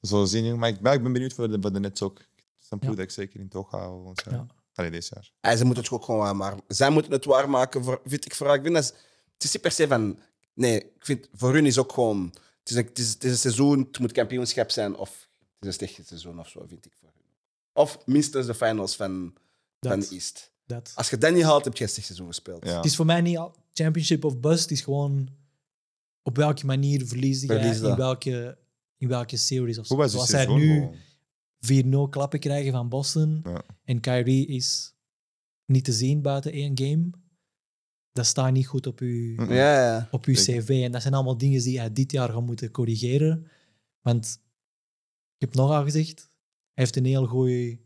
we zullen zien. jong. Maar ik, maar ik ben benieuwd voor de, voor de Nets ook. Het is een ploeg Ja. dat ik zeker in toog hou. Want, Ja. Allee, dit jaar. Ah, En ze moeten het ook gewoon waarmaken. Zij moeten het waarmaken, voor, vind ik vooral. Ik vind dat, ze- het is niet per se van Nee, ik vind voor hun is ook gewoon. Het is een, het is, het is een seizoen, het moet kampioenschap zijn. Of het is een slecht seizoen of zo, vind ik voor hun. Of minstens de finals van, van Dat, East. dat. Als je dat niet haalt, heb je een slecht seizoen gespeeld. Ja. Het is voor mij niet al- championship of bust. Het is gewoon op welke manier verlies je Verlies in dat. welke, in welke series. Of zo. Hoe was het Zoals zij seizoen? nu gewoon? 4-0 klappen krijgen van Boston. Ja. En Kyrie is niet te zien buiten één game. Dat staat niet goed op uw, Mm. Ja, ja. op uw Ik- cv. En dat zijn allemaal dingen die hij dit jaar gaat moeten corrigeren. Want ik heb nogal gezegd, hij heeft een heel goeie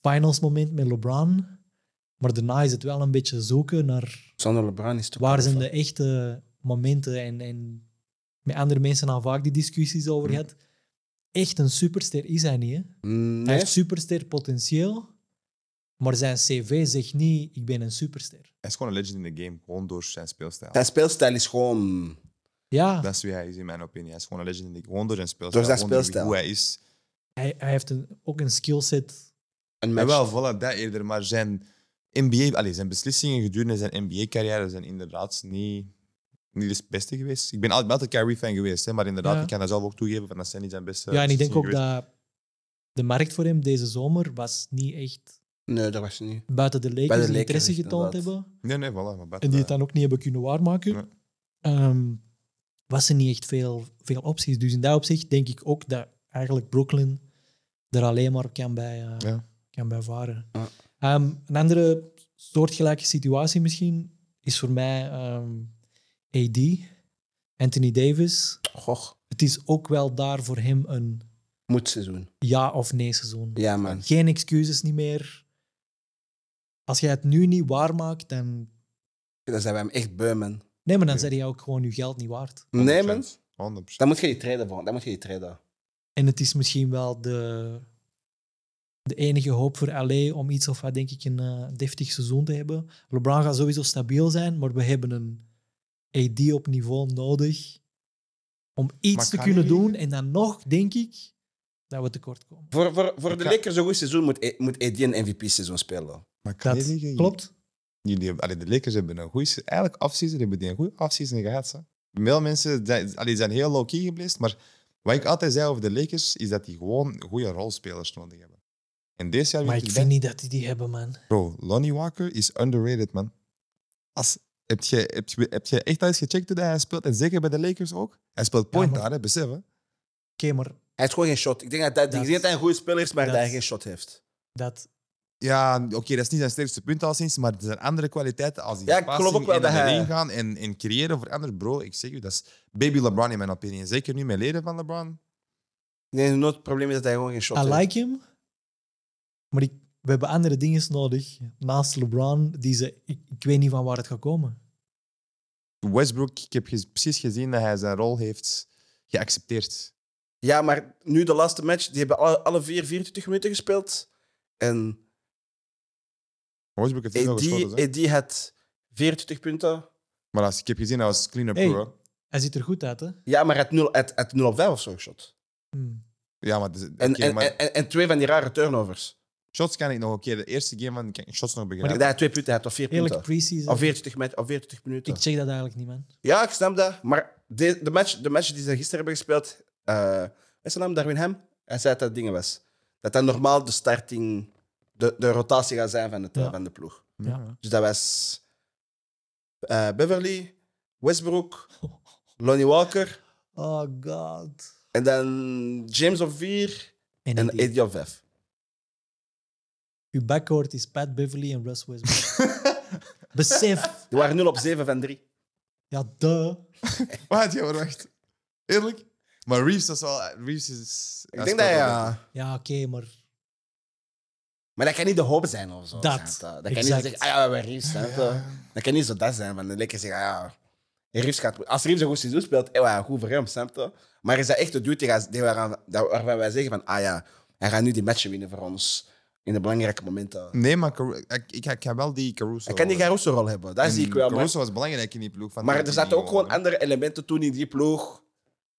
finals moment met LeBron. Maar daarna is het wel een beetje zoeken naar Zonder LeBron is het ook waar wel zijn van. de echte momenten? En, en met andere mensen al vaak die discussies over Hm. gehad. Echt een superster is hij niet. Hè? Hij Mm, Nee, heeft superster potentieel, maar zijn cv zegt niet: ik ben een superster. Hij is gewoon een legend in de game, gewoon door zijn speelstijl. zijn speelstijl is gewoon. Ja, Dat is wie hij is, in mijn opinie. Hij is gewoon een legend in de game, gewoon door zijn speelstijl. zijn gewoon wie- speelstijl. Hoe hij is. hij, hij heeft een, ook een skillset. Een En match. wel, voilà, dat eerder. Maar zijn NBA, allez, zijn beslissingen gedurende zijn NBA-carrière zijn inderdaad niet, niet de beste geweest. Ik ben altijd, ben altijd Kyrie-fan geweest, hè, maar inderdaad, Ja. ik kan dat zelf ook toegeven, van dat zijn niet zijn beste Ja, en ik denk ook beslissingen dat de markt voor hem deze zomer was niet echt Nee, dat was niet. buiten de Lakers, Bij de die Lakers, interesse getoond inderdaad. hebben. geweest. Nee, nee, voilà. Maar buiten En die het dat- dan ook niet hebben kunnen waarmaken, Nee. ehm, was er niet echt veel, veel opties. Dus in dat opzicht denk ik ook dat eigenlijk Brooklyn er alleen maar kan bij, eh, Ja. kan bij varen. Ja. Ehm, een andere soortgelijke situatie misschien is voor mij ehm, AD, Anthony Davis. Goh, Het is ook wel daar voor hem een moet seizoen. ja of nee seizoen. Ja, man. Geen excuses niet meer. Als jij het nu niet waarmaakt, dan... Dat zijn wij hem echt beu, man. Nee, maar dan Ja. zeg je ook gewoon je geld niet waard. 100%. Nee, man. 100%. Dan moet je die traden voor. Dan moet je die traden. En het is misschien wel de, de enige hoop voor LA om iets of wat, denk ik, een eh, deftig seizoen te hebben. LeBron gaat sowieso stabiel zijn, maar we hebben een AD op niveau nodig om iets Maar te kan kunnen hij- doen. En dan nog, denk ik, dat we tekort komen. Voor, voor, voor Ik de ga- Lakers een goed seizoen moet, E- moet AD een MVP-seizoen spelen. Maar kan Dat je zeggen, klopt. Jullie hebben, allee, de Lakers hebben een goede... Eigenlijk afseason hebben die een goede afseason gehad. Hè. Veel mensen zijn, allee, zijn heel low-key gebleven, maar wat ik altijd zei over de Lakers is dat die gewoon goede rolspelers nodig hebben. En dit jaar... Maar weet ik dat- vind niet dat die die hebben, man. Bro, Lonnie Walker is underrated, man. Als, heb, je, heb, je, heb je echt al eens gecheckt hoe dat hij speelt? En zeker bij de Lakers ook. Hij speelt point maar- daar, hè, besef. Hè? Oké, maar Hij heeft gewoon geen shot. Ik denk dat, dat, Dat- ik denk dat hij een goede speler is, maar dat, dat- hij geen shot heeft. dat... Ja, oké, dat is niet zijn sterkste punt al sinds, maar er zijn andere kwaliteiten als die Ja, ik geloof ook wel en dat naar de hij- ring gaan en, en creëren voor anderen. Bro, ik zeg u, dat is baby LeBron in mijn opinie. Zeker nu met leden van LeBron. Ik denk dat het probleem is dat hij gewoon geen shot I heeft. like him, maar ik, we hebben andere dingen nodig naast LeBron die ze... Ik, ik weet niet van waar het gaat komen. Westbrook, ik heb gez- precies gezien dat hij zijn rol heeft geaccepteerd. Ja, maar nu de laatste match, die hebben alle, alle vier 24 minuten gespeeld. En E Westbrook heeft veel AD, geschoten, hè. AD had 24 punten. maar als ik heb gezien, hij was clean-up Hey. pro. Hij ziet er goed uit, hè? Ja, maar het 0, het, het 0 op 5 of zo shot. Hmm. Ja, maar, dus- En, oké, en, maar en, en, twee van die rare turnovers. shots kan ik nog een keer. De eerste game van kan ik shots nog Maar begrijpen. dat hij twee punten had, of vier Eerlijk, punten. pre-season. Of 40, met, of 40 minuten. Ik check dat eigenlijk niet, man. Ja, ik snap dat. Maar de, de, match, de match die ze gisteren hebben gespeeld, eh wat is zijn naam? Darwin Ham? Hij zei dat dat dingen was. Dat dat normaal de starting, de, de rotatie gaat zijn van, het, eh, Ja. van de ploeg. Ja. Dus dat was eh, Beverly, Westbrook, Lonnie Walker Oh, god. en dan James op vier En, en die- Eddie op vijf. uw backcourt is Pat Beverly en Russ Westbrook. Besef. Die waren 0 op 7 van 3. Ja, duh. Wat? Ja, maar wacht. Eerlijk? Maar Reeves, dat is wel... Reeves is... Ik denk dat ja. Ja, oké, maar... Maar dat kan niet de hoop zijn of zo. Dat, snap je? Dat kan exact. niet zeggen, ah ja, we hebben Reeves. snap je? Dat kan niet zo dat zijn. Want dan lekker zeggen, ah ja, Reeves gaat goed. Als Reeves een goed seizoen speelt, eh, ja, goed voor hem, snap je? Maar is dat echt de dude die gaat- die waaraan- dat- waarvan wij zeggen van, ah ja, hij gaat nu die matchen winnen voor ons in de belangrijke momenten. Nee, maar Caru- ik, ik, ik ga wel die Caruso... Hij kan die Caruso-rol hebben, dat En zie ik wel. Maar, Mm, Caruso was belangrijk in die ploeg. Van maar die- er die zaten ook gewoon, gewoon andere elementen toen in die ploeg.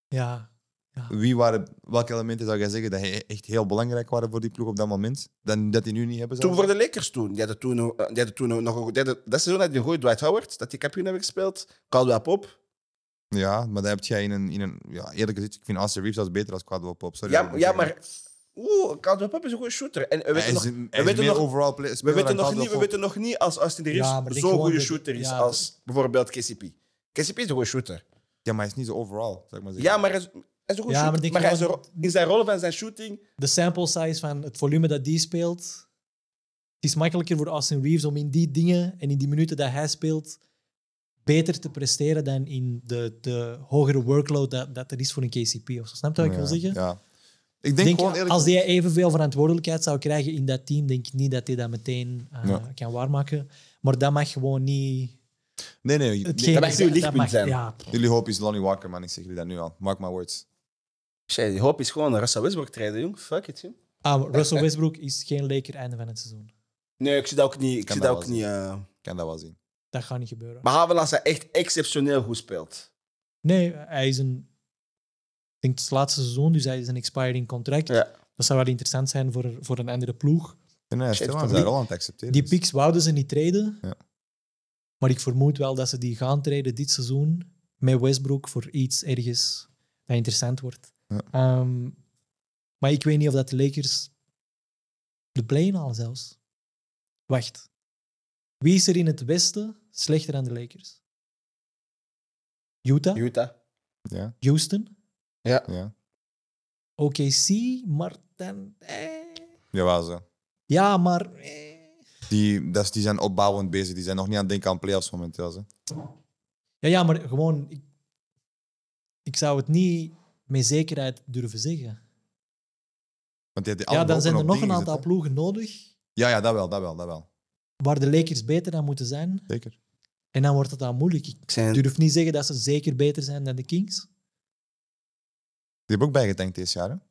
Ja. hè. Wie waren... Welke elementen zou jij zeggen dat he- echt heel belangrijk waren voor die ploeg op dat moment? Dan, dat die nu niet hebben? Toen zelfs? voor de Lakers toen. Die hadden toen, eh, die hadden toen nog een goede... Dat seizoen had die een goede Dwight Howard, dat die kampioen hebben gespeeld. Caldwell Pop. Ja, maar dan heb jij in een... In een ja, eerlijk gezegd, ik vind Austin Reeves als beter als Quadro Pop. Sorry, dat Ja, ik moet ja zeggen. maar... Oeh, Caldwell Pop is een goede shooter. En we Hij weten is, nog, een, we hij is weten meer nog, overall play, we speler weten dan nog, niet, we Caldwell Pope. weten nog niet als Austin Reeves Ja, maar ik denk zo'n gewoon goede dat- shooter is ja. als bijvoorbeeld KCP. KCP is een goede shooter. Ja, maar hij is niet zo overall, zou ik maar zeggen. Ja, maar hij is, hij is een goede Ja, maar shooter. denk Maar, je hij is wel- een ro- in zijn rol van zijn shooting... De sample size van het volume dat die speelt. Het is makkelijker voor Austin Reeves om in die dingen en in die minuten dat hij speelt beter te presteren dan in de, de hogere workload dat, dat er is voor een KCP. Of zo. Snap je wat ik wil zeggen? Ja. Ik denk, Ik Denk, gewoon eerlijk... als hij evenveel verantwoordelijkheid zou krijgen in dat team, denk ik niet dat hij dat meteen eh, Ja. kan waarmaken. Maar dat mag gewoon niet... Nee, nee. hetgeen- mag uw lichtpunt mag- zijn. Ja, Jullie hoop is Lonnie Walker, man. Ik zeg jullie dat nu al. Mark my words. Shit, die hoop is gewoon een Russell Westbrook traden, jong. Fuck it, jong. Ah, maar Russell Westbrook is geen Laker einde van het seizoen. Nee, ik zie dat ook niet. Ik Kan zie dat dat ook wel niet eh, Ik kan dat wel zien. Dat gaat niet gebeuren. behalve als hij echt exceptioneel goed speelt. Nee, hij is een... Ik denk het is het laatste seizoen, dus hij is een expiring contract. Ja. Dat zou wel interessant zijn voor, voor een andere ploeg. En hij is Shit, stil aan die- zijn rol aan het accepteren. Die dus. picks wouden ze niet traden. Ja. Maar ik vermoed wel dat ze die gaan traden dit seizoen met Westbrook voor iets ergens dat interessant wordt. Ja. Ehm, maar ik weet niet of dat de Lakers de play-in halen zelfs. Wacht. Wie is er in het westen slechter dan de Lakers? Utah? Utah. Ja, Houston? ja. OKC? Maar dan... eh. Jawel, zo. Ja, maar... eh. Die, dat is, die zijn opbouwend bezig. Die zijn nog niet aan het denken aan playoffs momenteel. Zo. Ja, ja, maar gewoon... Ik, ik zou het niet met zekerheid durven zeggen. Want die, die Ja, dan zijn er nog een aantal playoffs. ploegen nodig Ja, ja, dat wel, dat wel, dat wel. waar de Lakers beter aan moeten zijn. Zeker. En dan wordt het dan moeilijk. Ik Ik zijn durf niet zeggen dat ze zeker beter zijn dan de Kings. Die hebben ook bijgetankt deze jaar. Hè? Die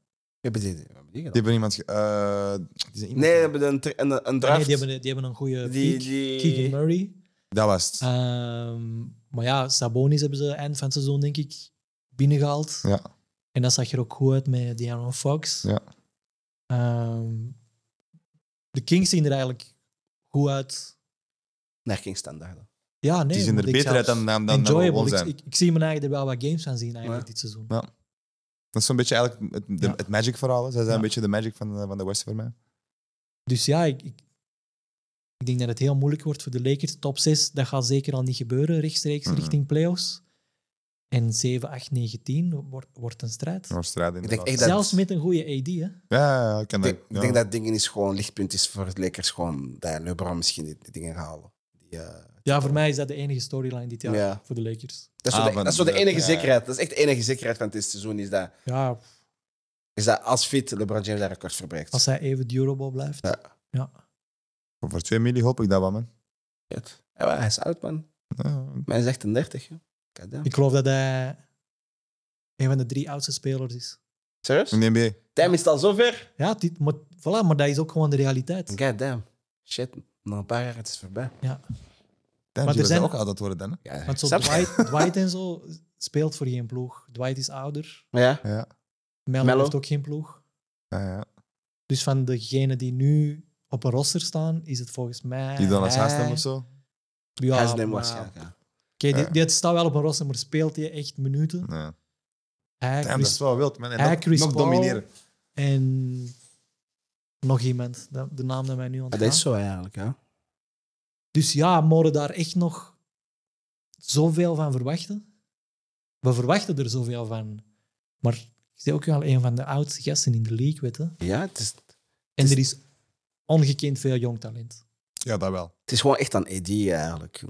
Hebben die- hebben die gedaan? hebben iemand. Ge- eh, die zijn iemand- Nee, we hebben een, tra- een, een draft. Ah, Nee, die hebben, die hebben een goede Die- pick. die- Keegan Murray. Dat was het. Ehm, maar ja, Sabonis hebben ze eind van het seizoen, denk ik, binnengehaald. Ja. En dat zag er ook goed uit met De'Aaron Fox. Ja. Ehm, de Kings zien er eigenlijk goed uit. Naar King standaard. Ja, nee. die zien er want ik beter zou- uit dan, dan, dan, dan we enjoyable. gewoon Ik, zijn. ik, ik zie mijn eigen er wel wat games van zien eigenlijk Ja. dit seizoen. Ja. Dat is zo'n beetje eigenlijk het, de- Ja. het magic verhaal. hè. Zij zijn Ja. een beetje de magic van de, van de West voor mij. Dus ja, ik, ik, ik denk dat het heel moeilijk wordt voor de Lakers. Top 6, dat gaat zeker al niet gebeuren, rechtstreeks Mhm. richting playoffs. En 7, 8, 9, 10 wordt, wordt een strijd. Noord Straat inderdaad. echt dat- Zelfs met een goede AD, hè. Ja, ja, ja, ik kan Ik dat. denk, ik denk ja. dat het ding is gewoon lichtpunt is voor het Lakers gewoon dat LeBron misschien die, die dingen gaat halen. Die, eh, Ja, voor mij is dat de enige storyline dit jaar Ja. voor de Lakers. dat is, Ah, zo de, van- dat is zo de ja, enige ja. zekerheid. Dat is echt de enige zekerheid van dit seizoen is dat, Ja, is dat als fit LeBron James dat record verbreekt. als hij even durable blijft. Ja. Voor 2 miljoen hoop ik dat wel, man. Ja, maar hij is oud man. Ja, Mijn is 38. joh. Goddamn. Ik geloof dat hij een van de drie oudste spelers is. Serieus? in de NBA. Time is het al zover. Ja, dit, maar, voilà, maar dat is ook gewoon de realiteit. Goddamn. Shit. Nog een paar jaar het is voorbij. Damn, er maar er zijn- zijn ook altijd worden dan. hè. Ja, Want zo snap je? Dwight, Dwight en zo speelt voor geen ploeg. Dwight is ouder. Ja. Ja, Melo, Melo. heeft ook geen ploeg. ja, ja. Dus van degenen die nu op een roster staan, is het volgens mij... Die dan als hij- Haastem of zo. Ja, hij is neem maar- waarschijnlijk. ja. Oké, die, Ja. die staat wel op een roster, maar speelt hij echt minuten? Ja. Hij, Damn, dat Chris is wel wild, man. En hij, nog, Chris nog Paul. domineren. en nog iemand. De, de naam dat mij nu aan Dat het is zo eigenlijk. Ja. Dus ja, mogen daar echt nog zoveel van verwachten? We verwachten er zoveel van. Maar ik ben ook wel een van de oudste gasten in de league, weet je. Ja, het is, En is- er is ongekend veel jong talent. Ja, dat wel. het is gewoon echt aan AD eigenlijk.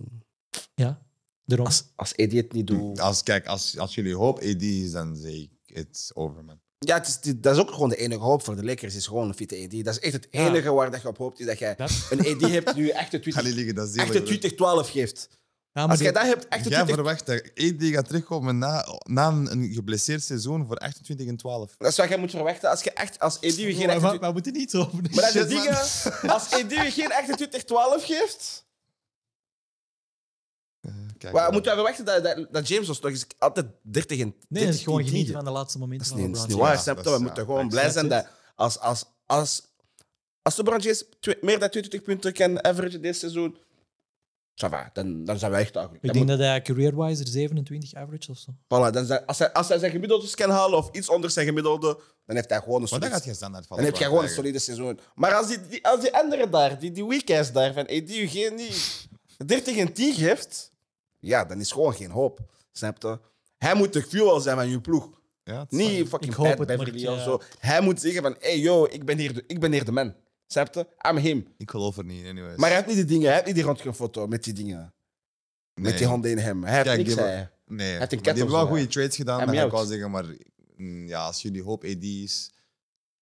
Ja, daarom. Als, als AD het niet doet... Als, kijk, als, als jullie hoop AD is, dan zeg ik, it's over, man. Ja, het is, dat is ook gewoon de enige hoop voor de Lakers, is gewoon een fitte AD. Dat is echt het Ja. enige waar dat je op hoopt, is dat jij Dat- een AD hebt die je Ga niet 28 liggen, dat is zielig, hoor. 28-12 geeft. Ja, Ah, maar Als die- jij dat hebt, Jij 28... verwacht dat AD gaat terugkomen na, na een, een geblesseerd seizoen voor 28 en 12. Dat is wat jij moet verwachten. Als, je echt, als AD je Maar- geen... maar- 28 maar we moeten niet over. Maar dat zijn Shit, man. dingen... Als AD je geen 28-12 geeft... Kijk, eh, Waar man. moeten we verwachten dat, dat, dat James ons nog eens altijd 30 en Nee, dat is 30, gewoon 10, genieten van de laatste Dat momenten is van niet, dat is LeBron niet James. waar, Ja, dat snap je? is- eh, We moeten ja, gewoon dat blij is- zijn dat als, als, als, als LeBron James twe- meer dan 22 punten kan averagen dit seizoen, ça va, dan, dan zijn wij echt agree. Ik Dan denk moet- dat hij career-wise er 27 average of zo. voilà, dan zijn- als, hij, als hij zijn gemiddelde kan halen of iets onder zijn gemiddelde, dan heeft hij gewoon een Maar dan solide gaat je standaard vallen. Dan heb je gewoon een solide seizoen. Maar als die, die, als die andere daar, die, die weekends daar, van hey, die u geen die 30 en 10 geeft, ja, dan is gewoon geen hoop. Snap je? Hij moet de fuel zijn van je ploeg. Ja, het is waar. Niet fucking Ik hoop Pat het, maar ik, Beverly of ja. zo. Hij moet zeggen van, hey yo, ik ben hier de, ik ben hier de man. Snap je? I'm him. Ik geloof er niet, anyways. Maar hij heeft niet die dingen, hij heeft niet die röntgenfoto met die dingen. Nee. Met die handen in hem. Hij heeft Kijk, niks, die- hij. Nee, had een maar die cat of hebben wel zo, goede ja. trades gedaan, En dat ga ik miauwt. wel zeggen. Maar mm, ja, als jullie hoop AD is,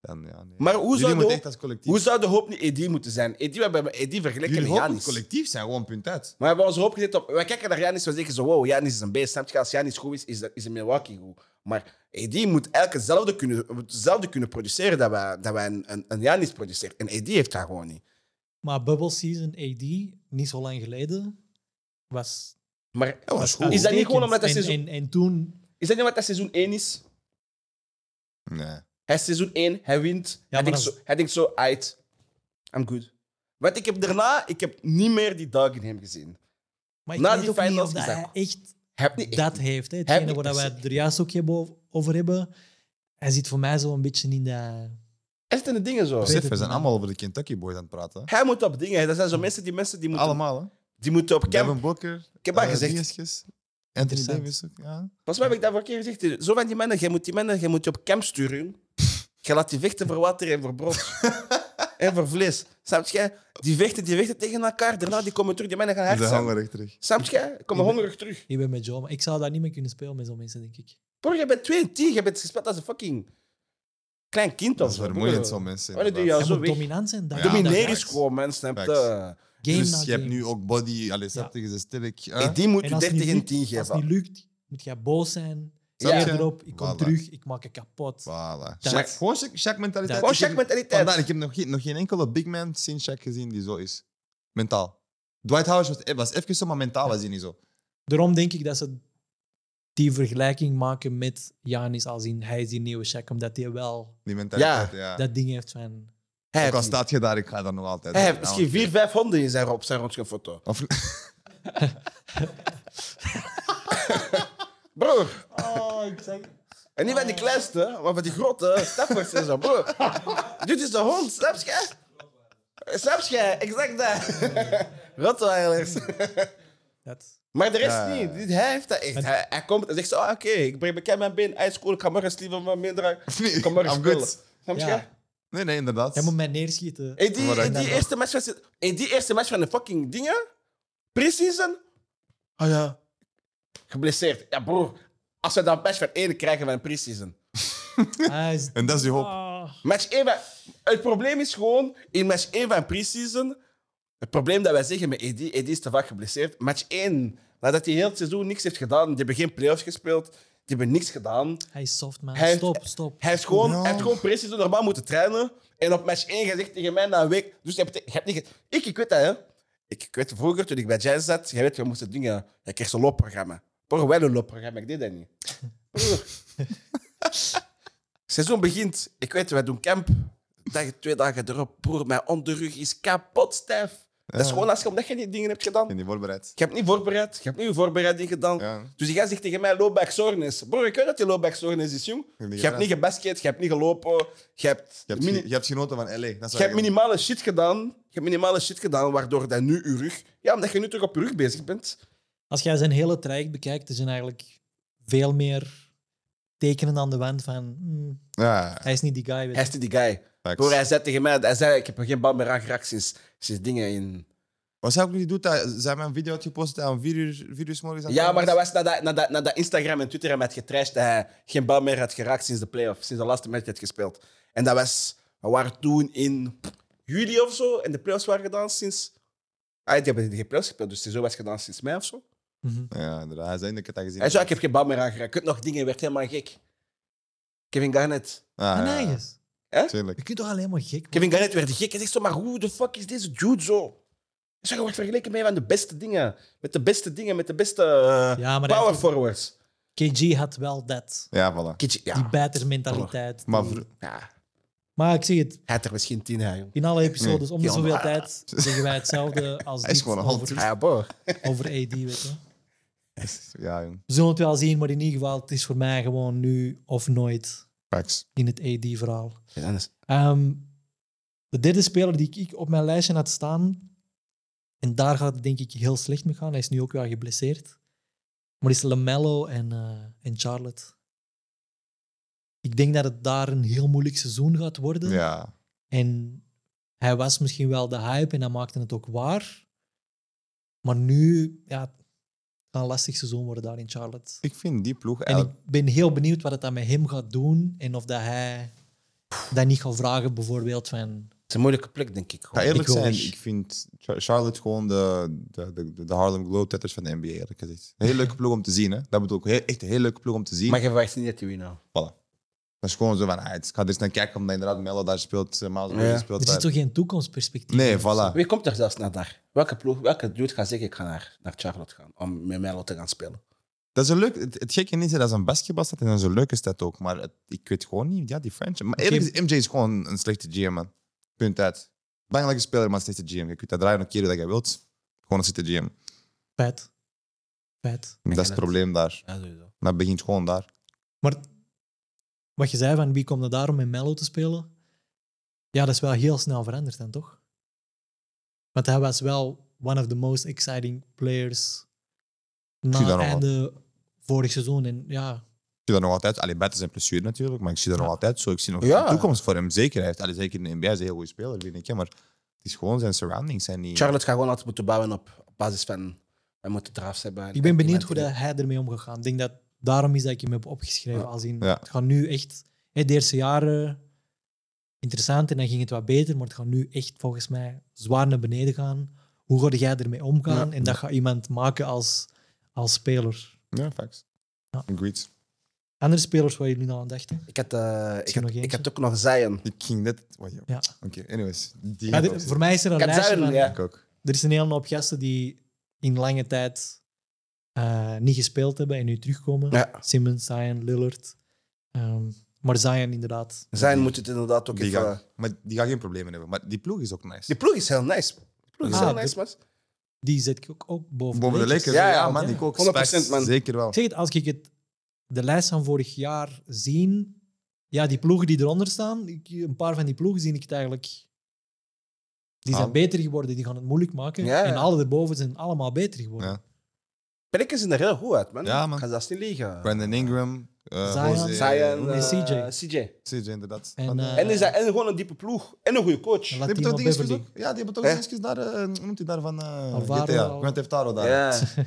dan ja, nee. Maar hoe jullie zou moeten de- echt als collectief... Hoe zou de hoop niet Edi moeten zijn? Edi, we hebben Edi vergeleken jullie hoop met moet Janis. collectief zijn, gewoon punt uit. Maar we hebben onze hoop gezet op. Wij kijken naar Janis, we zeggen zo: wow, Janis is een beest. Snap je? Als Janis goed is, is, is in Milwaukee goed. Maar AD moet elke hetzelfde kunnen, hetzelfde kunnen produceren dat wij, dat wij een, een, een Janis produceert. En AD heeft dat gewoon niet. Maar bubble season AD, niet zo lang geleden, was... Maar Dat was was goed. Is Oh, dat niet gewoon uitstekend. omdat dat en, seizoen- en, en toen... is dat niet wat dat seizoen 1 is? Nee. Hij is seizoen 1, hij wint. hij, maar denkt dat zo, is- hij denkt zo: uit. I'm good. Want ik heb daarna, ik heb niet meer die dog in hem gezien. Maar ik Na weet die ook niet finals of is dat dat- hij echt Heb niet echt- dat heeft. Hè. Hetgene niet waar per wij se. het er juist ook hebben o- over hebben. Hij zit voor mij zo een beetje in dat... Hij zit in de dingen zo. Weet Besef, het we zijn niet. allemaal over de Kentucky Boys aan het praten. hè. Hij moet op dingen. Dat zijn zo mensen die mensen die moeten, Allemaal, hè? die moeten op camp. Devin Booker. Ik heb maar eh, gezegd. dingetjes. Anthony Interessant. Davis ook, ja. Volgens mij heb ik dat voor een keer gezegd. Zo van die mannen, jij moet die mannen jij moet je op camp sturen. jong. Je laat die vechten voor water en voor brood. en voor vlees. Snap je? Die vechten, die vechten tegen elkaar. Daarna die komen terug, die mannen gaan hard Ze zijn. hangen echt terug. Snap je? Komen hongerig terug. Ik ben met Joe, maar ik zou daar niet mee kunnen spelen met zo'n mensen, denk ik. Bro, je bent 22, je bent gespeeld als een fucking klein kind. Dat of is zo, vermoeiend, broer. zo'n mensen. Wat doe je inderdaad. Hij zo moet weg. dominant zijn. Dag, Ja. in, dag Domineer uit. is gewoon, man. Snap je? Facts. Game na Dus je hebt game. nu ook body, allee, septig is sterk. eh, hè? Hey, Die moet En je als het 30 niet en lukt- 10 Als het geven. niet lukt, moet jij boos zijn. Ja. Zet Ja. erop, ik kom Voilà. terug, ik maak je kapot. Voilà. Dat- Shaq, gewoon Shaq- Shaq-mentaliteit. Gewoon Ik heb- check mentaliteit. Vandaar, ik heb nog geen, nog geen enkele big man sinds Shaq gezien die zo is. Mentaal. Dwight Howard was, eh, was even zo, maar mentaal was hij niet zo. Daarom denk ik dat ze die vergelijking maken met Janis als in hij is die nieuwe Shaq, omdat hij wel Die mentaliteit, ja. dat ding heeft van... Hij Ook al heeft, staat je daar, ik ga daar nog altijd. hij heeft Ja, misschien want- 4, 5 honden in zijn, op zijn röntgenfoto. Of, Broer. Oh, ik zeg... En niet van die kleinste, maar van die grote staffers en zo, bro. Dit is de hond, snap je? Snap je? Exact dat. Rottweilers. Dat. Maar de rest Ja. niet. Dit- Hij heeft dat echt. Hij, hij komt en zegt zo, ah, oké, ik breng bekend mijn been uit school, ik ga morgen slieven met mijn draak. of niet? Ik ga morgen I'm spelen. good. Snap je? Ja. Nee, nee, inderdaad. Jij moet mij neerschieten. In die, Maar in dat- die eerste match van, in die eerste match van de fucking dingen, pre-season, ah ja, geblesseerd. Ja, broer, als we dan match van één krijgen van een pre-season. Hij is... En dat is je hoop. Ah. Match 1 van- Het probleem is gewoon, in match 1 van pre-season, het probleem dat wij zeggen met Eddie, Eddie is te vaak geblesseerd. Match 1, nadat hij heel het seizoen niks heeft gedaan, die hebben geen playoffs gespeeld, die hebben niks gedaan. Hij is soft, man. Hij heeft- stop, stop. Hij heeft gewoon, Ja. hij heeft gewoon pre-season normaal moeten trainen. En op match 1 gezegd tegen mij na een week, dus je hebt, je hebt niet... ge- Ik, ik weet dat, hè. Ik, ik weet vroeger, toen ik bij Jazz zat, jij weet, we moesten dingen... Je kreeg zo'n loopprogramma. Broer, wel een loopprogramma, ik deed dat niet. Broer. Seizoen begint. Ik weet, wij doen camp. Dag, twee dagen erop. Broer, mijn onderrug is kapot stijf. Dat is Ja. gewoon als je, omdat je die dingen hebt gedaan. Ik ben niet voorbereid. Je hebt niet voorbereid. Je hebt niet je voorbereiding gedaan. Ja. Dus die gaat zegt tegen mij lowback soornis. Broer, ik weet dat je lowback soornis is, jong. hebt niet Je hebt niet gebasket, je hebt niet gelopen. Je hebt, Je hebt, mini- ge- je hebt genoten van LA. Dat is wat je hebt ik- minimale shit gedaan. Je hebt minimale shit gedaan, waardoor dat nu je rug... Ja, omdat je nu terug op je rug bezig bent. Als jij zijn hele traject bekijkt, er zijn eigenlijk veel meer tekenen aan de wand van hmm, Ja, hij is niet die guy. weet Hij je. is die guy. facts. Broer, hij zei tegen mij... Hij zei, ik heb er geen bal meer aangeraakt sinds, sinds dingen in... Wat zou ik nu doen? Dat- Zij hebben een video had gepost aan 4 uur, 4 uur 's morgens. aan het Ja, maar einde dat was nadat, nadat, nadat Instagram en Twitter hem had getrashed dat hij geen bal meer had geraakt sinds de playoff, sinds de laatste match had gespeeld. En dat was, we waren toen in juli of zo en de playoffs waren gedaan sinds. Ah, die hebben geen playoffs gespeeld, dus zo was gedaan sinds mei of zo. Mhm. Ja, inderdaad. Hij zei dat ik het had gezien. Hij zei: Ik heb geen bal meer aangeraakt. Ik heb nog dingen, werd helemaal gek. Kevin Garnett. Ah, Maar ja, nee, ja, eens. tuurlijk. je kunt toch alleen maar gek Kevin Garnett werd gek. Hij zegt zo: Maar hoe de fuck is deze dude zo? Hij zegt, Je wordt vergeleken met een van de beste dingen. Met de beste dingen, met de beste eh, Ja, maar hij power heeft- forwards. KG had wel dat. Ja, voilà. Kitje, Die ja. bijtermentaliteit. Maar die- vro- ja. Maar ik zeg het, Hij had er misschien tien, hè, jong. in alle episodes, om de Ja, zoveel maar- tijd, zeggen wij hetzelfde als Hij is dit gewoon een over, hand. Ah, Ja, boy. over AD. Weet je. Ja, jong. We zullen het wel zien, maar in ieder geval, het is voor mij gewoon nu of nooit Facts. in het AD-verhaal. Ja, dan is- Ehm, de derde speler die ik- ik op mijn lijstje had staan, en daar gaat het denk ik heel slecht mee gaan, hij is nu ook wel geblesseerd, maar is Lamello en, eh, en Charlotte. Ik denk dat het daar een heel moeilijk seizoen gaat worden. Ja. En hij was misschien wel de hype en hij maakte het ook waar. Maar nu, ja, het kan een lastig seizoen worden daar in Charlotte. Ik vind die ploeg En ik eigenlijk... ben heel benieuwd wat het dan met hem gaat doen en of dat hij dat niet gaat vragen, bijvoorbeeld van... Het is een moeilijke plek, denk oh, ik. Ik ga gewoon. eerlijk ik wil zijn, weg. ik vind Char- Charlotte gewoon de, de, de, de Harlem Globetrotters van de NBA, eerlijk gezegd. Een hele leuke ploeg om te zien, hè. Dat bedoel ik. Heel- echt een hele leuke ploeg om te zien. Maar je verwacht niet dat hij wint. nou. Voilà. Dat is gewoon zo van, ah, het- ik ga er eens naar kijken, omdat inderdaad Melo daar speelt, eh, Miles Ja. Bridges speelt Er zit daar. toch geen toekomstperspectief Nee, in? voilà. Wie komt er zelfs naar daar? Welke ploeg, welke dude gaat zeggen, ik ga naar, naar Charlotte gaan om met Melo te gaan spelen? Dat is een leuk, het, het gekke is, hè, dat is een basketbalstad en dat is een leuke stad ook. Maar het- ik weet gewoon niet, ja, die franchise. Maar eerlijk gezegd, MJ is gewoon een slechte GM, man. Punt uit. Belangrijke speler, maar een slechte GM. Je kunt dat draaien een keer dat je wilt. Gewoon een slechte GM. Feit. Feit. Dat is het probleem daar. Ja, sowieso. Dat begint gewoon daar. Maar wat je zei van wie komt er daar om met Mello te spelen, ja, dat is wel heel snel veranderd dan, toch? Want hij was wel one of the most exciting players na zie dat het nog einde vorig seizoen. En ja, Ik zie dat nog altijd. Allee, Bert is een blessure natuurlijk, maar ik zie dat nog altijd zo. Ik zie nog Ja. een toekomst voor hem. Zeker, hij heeft, allee, zeker in de NBA is hij een heel goede speler, vind ik. hè, Maar het is gewoon zijn surroundings zijn niet... Charlotte gaat gewoon altijd moeten bouwen op op basis van, wij moeten drafts hebben. ik ben benieuwd Iemand hoe die- dat hij ermee omgegaan. Ik denk dat daarom is dat ik hem heb opgeschreven. Als in, Ja. Het gaat nu echt, hè, de eerste jaren interessant en dan ging het wat beter, maar het gaat nu echt volgens mij zwaar naar beneden gaan. Hoe ga jij ermee omgaan? Ja. En dat gaat iemand maken als, als speler. Ja, facts. Ja. Agreed. Andere spelers waar jullie nou aan dachten? Ik had, eh, ik, Zie je had, nog ik had eentje? ook nog Zion. Ik ging net... Oh, ja. Ja. Oké, anyways. Die Ja, gaat dit- ook voor mij is er een Ik had lijstje Zion, van- ja. Ik ook. Er is een hele hoop gasten die in lange tijd eh, niet gespeeld hebben en nu terugkomen. Ja. Simmons, Zion, Lillard. Ehm, maar Zion inderdaad. Zion moet het inderdaad ook Die even... gaat, maar die gaat geen problemen hebben. Maar die ploeg is ook nice. Die ploeg is heel nice. Die ploeg is Ah, heel de- nice, man. Die zet ik ook, ook boven, Boven de Lakers. Ja, Ja, ja, man. ja. Ik ook. 100% Spijs, man. Zeker wel. Ik zeg het, als ik het, de lijst van vorig jaar zie, ja, die ploegen die eronder staan, ik, een paar van die ploegen zie ik het eigenlijk... Die zijn Ah. beter geworden, die gaan het moeilijk maken. Ja, ja. En alle erboven zijn allemaal beter geworden. Ja. Pelicans zien er heel goed uit, man. Ja, man. Ik ga zelfs niet liegen. Brandon Ingram. eh Zion. Jose- Zion, En eh, CJ. CJ. CJ, inderdaad. En, Van, eh, eh, die En, is dat, en gewoon een diepe ploeg. En een goede coach. En Ja, hebben Latino toch dingetjes Beverly. ook- Ja, die hebben toch Hè? dingetjes daar... eh, Hoe noemt hij daar van? eh, Alvaro. GTA. Grand Theft Auto daar.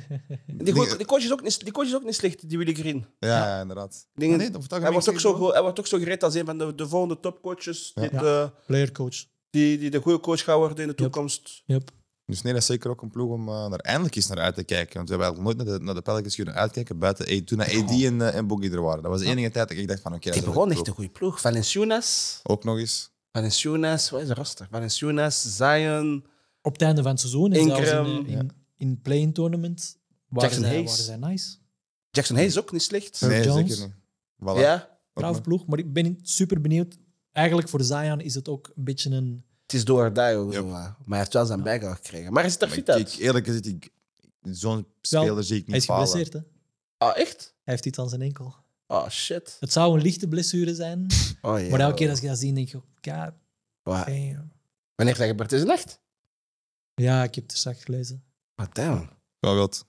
Die, go- die, coach is ook niet, die coach is ook niet slecht, die Willy Green. Ja, ja, inderdaad. Maar Dingen- nee, over het algemeen Hij wordt, ook ik zo, zeg het wel. ge- hij wordt ook zo gereed als een van de, de volgende topcoaches die, Ja. de, Playercoach. die, die de goede coach gaat worden in de toekomst. Yep. Dus nee, dat is zeker ook een ploeg om eh, daar eindelijk eens naar uit te kijken. Want we hebben eigenlijk nooit naar de, naar de Pelicans kunnen uitkijken buiten A- toen AD en, eh, en Boogie er waren. Dat was de enige tijd dat ik dacht van oké, Die dat is begon een echt een goede ploeg. Valenciunas, ploeg. Ook nog eens. Valenciunas, wat is de roster? Valenciunas, Zion, Op het einde van het seizoen, en zelfs in, Ingram. eh, in, in play-in tournament, waren Jackson zij, Hayes. waren zij nice. Jackson Hayes ook niet slecht. Herb nee, Jones. zeker niet. Voilà. Ja, Ook Brave nog. ploeg, maar ik ben super benieuwd. Eigenlijk voor Zion is het ook een beetje een... het is door daar. ook Ja. zo, eh. Maar hij heeft wel zijn bijdrage gekregen. Maar hij ziet er Maar fit ik, uit. ik, eerlijk gezegd, ik, zo'n speler zie ik Hij niet is falen. geblesseerd, hè? Hij Ah, echt? heeft iets aan zijn enkel. Ah, shit. Het zou een lichte blessure zijn, Oh, ja. maar elke keer als je dat ziet, denk je... oh, God Wa- damn. Wanneer is dat gebeurd? Is het echt? Ja, ik heb het er straks gelezen. Ah, damn. Oké, Wel wild.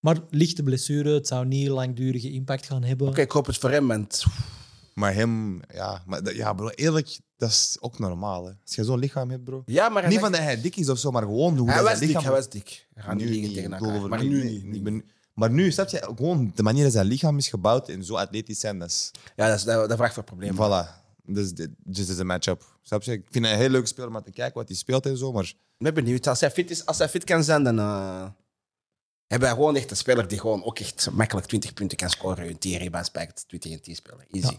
Maar lichte blessure, het zou niet langdurige impact gaan hebben. ik hoop het voor hem. Want... Maar hem, ja, maar, dat- ja, bro, eerlijk, dat is ook normaal. Hè. Als je zo'n lichaam hebt, bro. Ja, maar hij, Niet zag- van dat hij dik is of zo, maar gewoon hoe hij dat was zijn dik. lichaam... Hij was dik. We gaan nu nu niet niet, tegen ik elkaar. bedoel, Maar nee, nu nee, niet. ik ben- maar nu, snap je, gewoon de manier dat zijn lichaam is gebouwd en zo atletisch zijn, dat is... Ja, dat, is, dat, dat vraagt voor problemen. Voilà. Dus dit dit is een match-up. Snap je? Ik vind het een heel leuk spel om aan te kijken wat hij speelt en zo, maar Ik ben benieuwd. Als hij fit, is, als hij fit kan zijn, dan eh, hebben we gewoon echt een speler die gewoon ook echt makkelijk 20 punten kan scoren. Een 10 rebounds pakt, 20 en 10 spelen. Easy.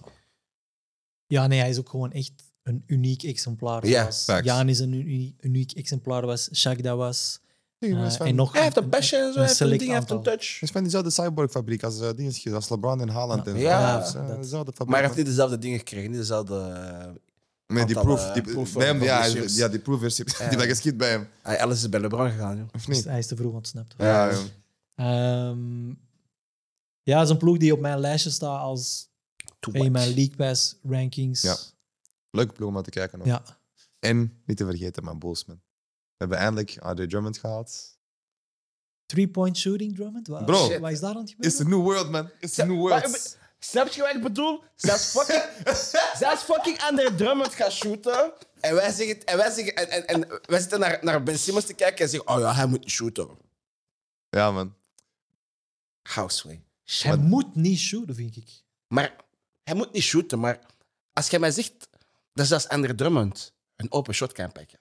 Ja, nee, hij is ook gewoon echt een uniek exemplaar. Ja, Zoals facts. Jan is een uni- uniek exemplaar was, Shaq dat was. eh, is van, en nog Hij heeft een passion en zo. Hij heeft een select ding, hij heeft een aantal. touch. hij is van diezelfde cyborgfabriek als, eh, dingetjes, als LeBron en Haaland en zo. Ja, Dus, eh, dat- dezelfde fabriek. Maar hij heeft niet dezelfde dingen gekregen. Niet dezelfde eh, Nee, die aantal, proof. eh, Die, proof, nee, eh, maar ja, hij is- issues. ja, die proefversie. Die dat geschiet bij hem. Hey, Alice is bij LeBron gegaan, joh. Of Dus niet? hij is te vroeg ontsnapt. Ja, ja. Ehm, ja, dat is een ploeg die op mijn lijstje staat als Too in much. mijn League Pass rankings. Ja. Leuke ploeg om naar te kijken. nog. Ja. En niet te vergeten, mijn Boosman. We hebben eindelijk R.J. Drummond gehaald. Three-point shooting, Drummond? Wat, Bro. wat is daar aan het It's the gebeuren? new world, man. It's the Ja, new maar- world. Snap je wat ik bedoel? Zelfs fucking, zelfs fucking Andre Drummond gaat shooten. En wij, zeggen, en wij, zeggen, en, en, en wij zitten naar, naar Ben Simmons te kijken en zeggen: Oh ja, hij moet niet shooten. Ja, man. Houseway. Hij moet niet shooten, vind ik. Maar hij moet niet shooten, maar als jij mij zegt dat zelfs Andre Drummond een open shot kan pakken.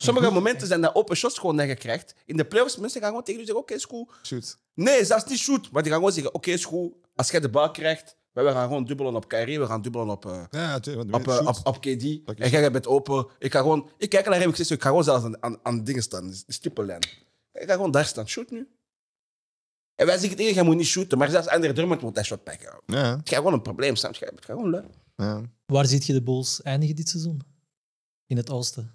Sommige momenten zijn dat open shots gewoon dat je krijgt. In de playoffs, mensen gaan gewoon tegen je zeggen: Oké, is goed. Shoot. Nee, zelfs niet shoot. Maar die gaan gewoon zeggen: Oké, is goed. Als jij de bal krijgt, wij gaan gewoon dubbelen op Kyrie, we gaan dubbelen op. eh, Ja, ja, tuurlijk, want op, weet- eh, shoot. op, op KD. Pak je En jij bent open. Ik ga gewoon... Ik kijk naar hem, ik zeg zo, ik ga gewoon zelfs aan, aan, aan dingen staan. de stippellijn. Ik ga gewoon daar staan. Shoot nu. En wij zeggen tegen, jij moet niet shooten. Maar zelfs Andre Drummond moet dat shot pakken. Ja, Het gaat gewoon een probleem, snap je? Het gaat gewoon leuk. ja. Waar zit je de Bulls eindigen dit seizoen? In het oosten.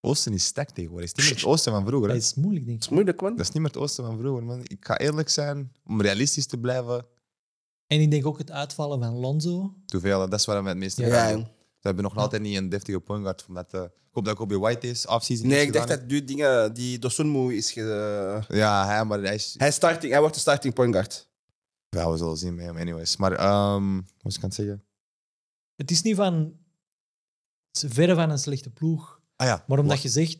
Oosten is stack tegenwoordig. Het is niet meer het oosten van vroeger. Dat hè. is moeilijk, denk Het ik. is moeilijk, man. Dat is niet meer het oosten van vroeger, man. Ik ga eerlijk zijn, om realistisch te blijven. En ik denk ook het uitvallen van Lonzo. Te veel, hè. dat is waar we het meeste Ja. gaan Ja. doen. Ze hebben nog altijd niet een deftige point guard. Omdat, eh, ik hoop dat Kobe White is, offseason Nee, is ik dacht gedaan. dat die dingen... Die Dosunmu is... Ge... Ja, hij, maar hij is... Hij, is starting, hij wordt de starting point guard. Ja, we zullen zien met hem anyways. Maar, ehm wat was ik aan het zeggen? Het is niet van... Het is verre van een slechte ploeg. Ah ja, Maar omdat wa- je zegt,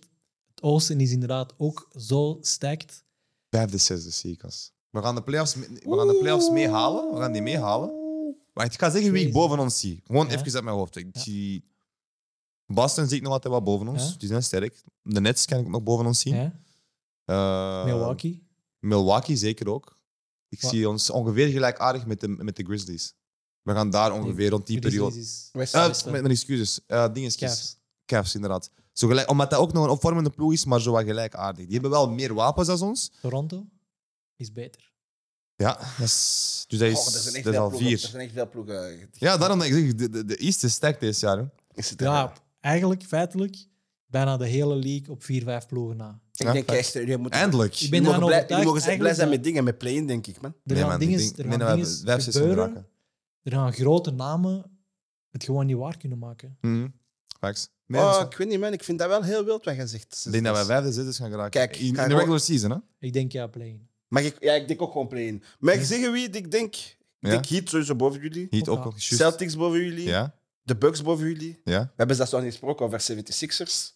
het oosten is inderdaad ook zo stacked. vijfde, zesde dus zie ik als. We gaan de playoffs, me- we gaan de playoffs meehalen. We gaan die meehalen. Maar ik ga zeggen wie ik Crazy. boven ons zie. Gewoon Ja. even uit mijn hoofd. Ik Ja. zie... Boston zie ik nog altijd wel boven ons. Ja. Die zijn sterk. De Nets kan ik ook nog boven ons zien. Ja? Eh, Milwaukee. Milwaukee zeker ook. Ik Wa- zie ons ongeveer gelijkaardig met de, met de Grizzlies. We gaan daar ongeveer rond die Grizzlies periode. is- West- Eh, Westen. met mijn excuses. Eh dingetjes. Cavs. Cavs, inderdaad. Zo gelijk, omdat dat ook nog een opvormende ploeg is, maar zo wat gelijkaardig. Die hebben wel meer wapens dan ons. Toronto is beter. Ja, dat is, dus dat is, Oh, dat zijn echt dat is veel al ploegen. Dat vier. zijn echt veel ploegen. Ja, daarom dat ik zeg, de, de, de East is sterk dit jaar. Hè. Is het er- Ja, eigenlijk, feitelijk, bijna de hele league op 4-5 ploegen na. Ja, Ik denk fact. echt... jullie moeten- Ik Eindelijk. ben jullie mogen daarvan blij- jullie overtuigd mogen blij zijn eigenlijk met dingen, met play-in, denk ik, man. Er Nee, gaan man, dingen, ik denk- er gaan ik denk dat we dinges vijf, zes gebeuren. moeten raken. Er gaan grote namen het gewoon niet waar kunnen maken. Mhm. Facts. Nee, dat is Oh, waar. ik weet niet, man. Ik vind dat wel heel wild wat je zegt. Ik denk dat wij vijfde, zesde gaan geraken. Kijk, in, in de ga gewoon- regular season, hè? Ik denk ja, play Maar ik, ja, ik denk ook gewoon play-in. Maar ik zeg je wie ik denk. Ik Ja. denk Heat sowieso boven jullie. Heat ook Ja. nog. juist. Celtics boven jullie. Ja, De Bucks boven jullie. We ja, hebben zelfs nog niet gesproken over 76ers.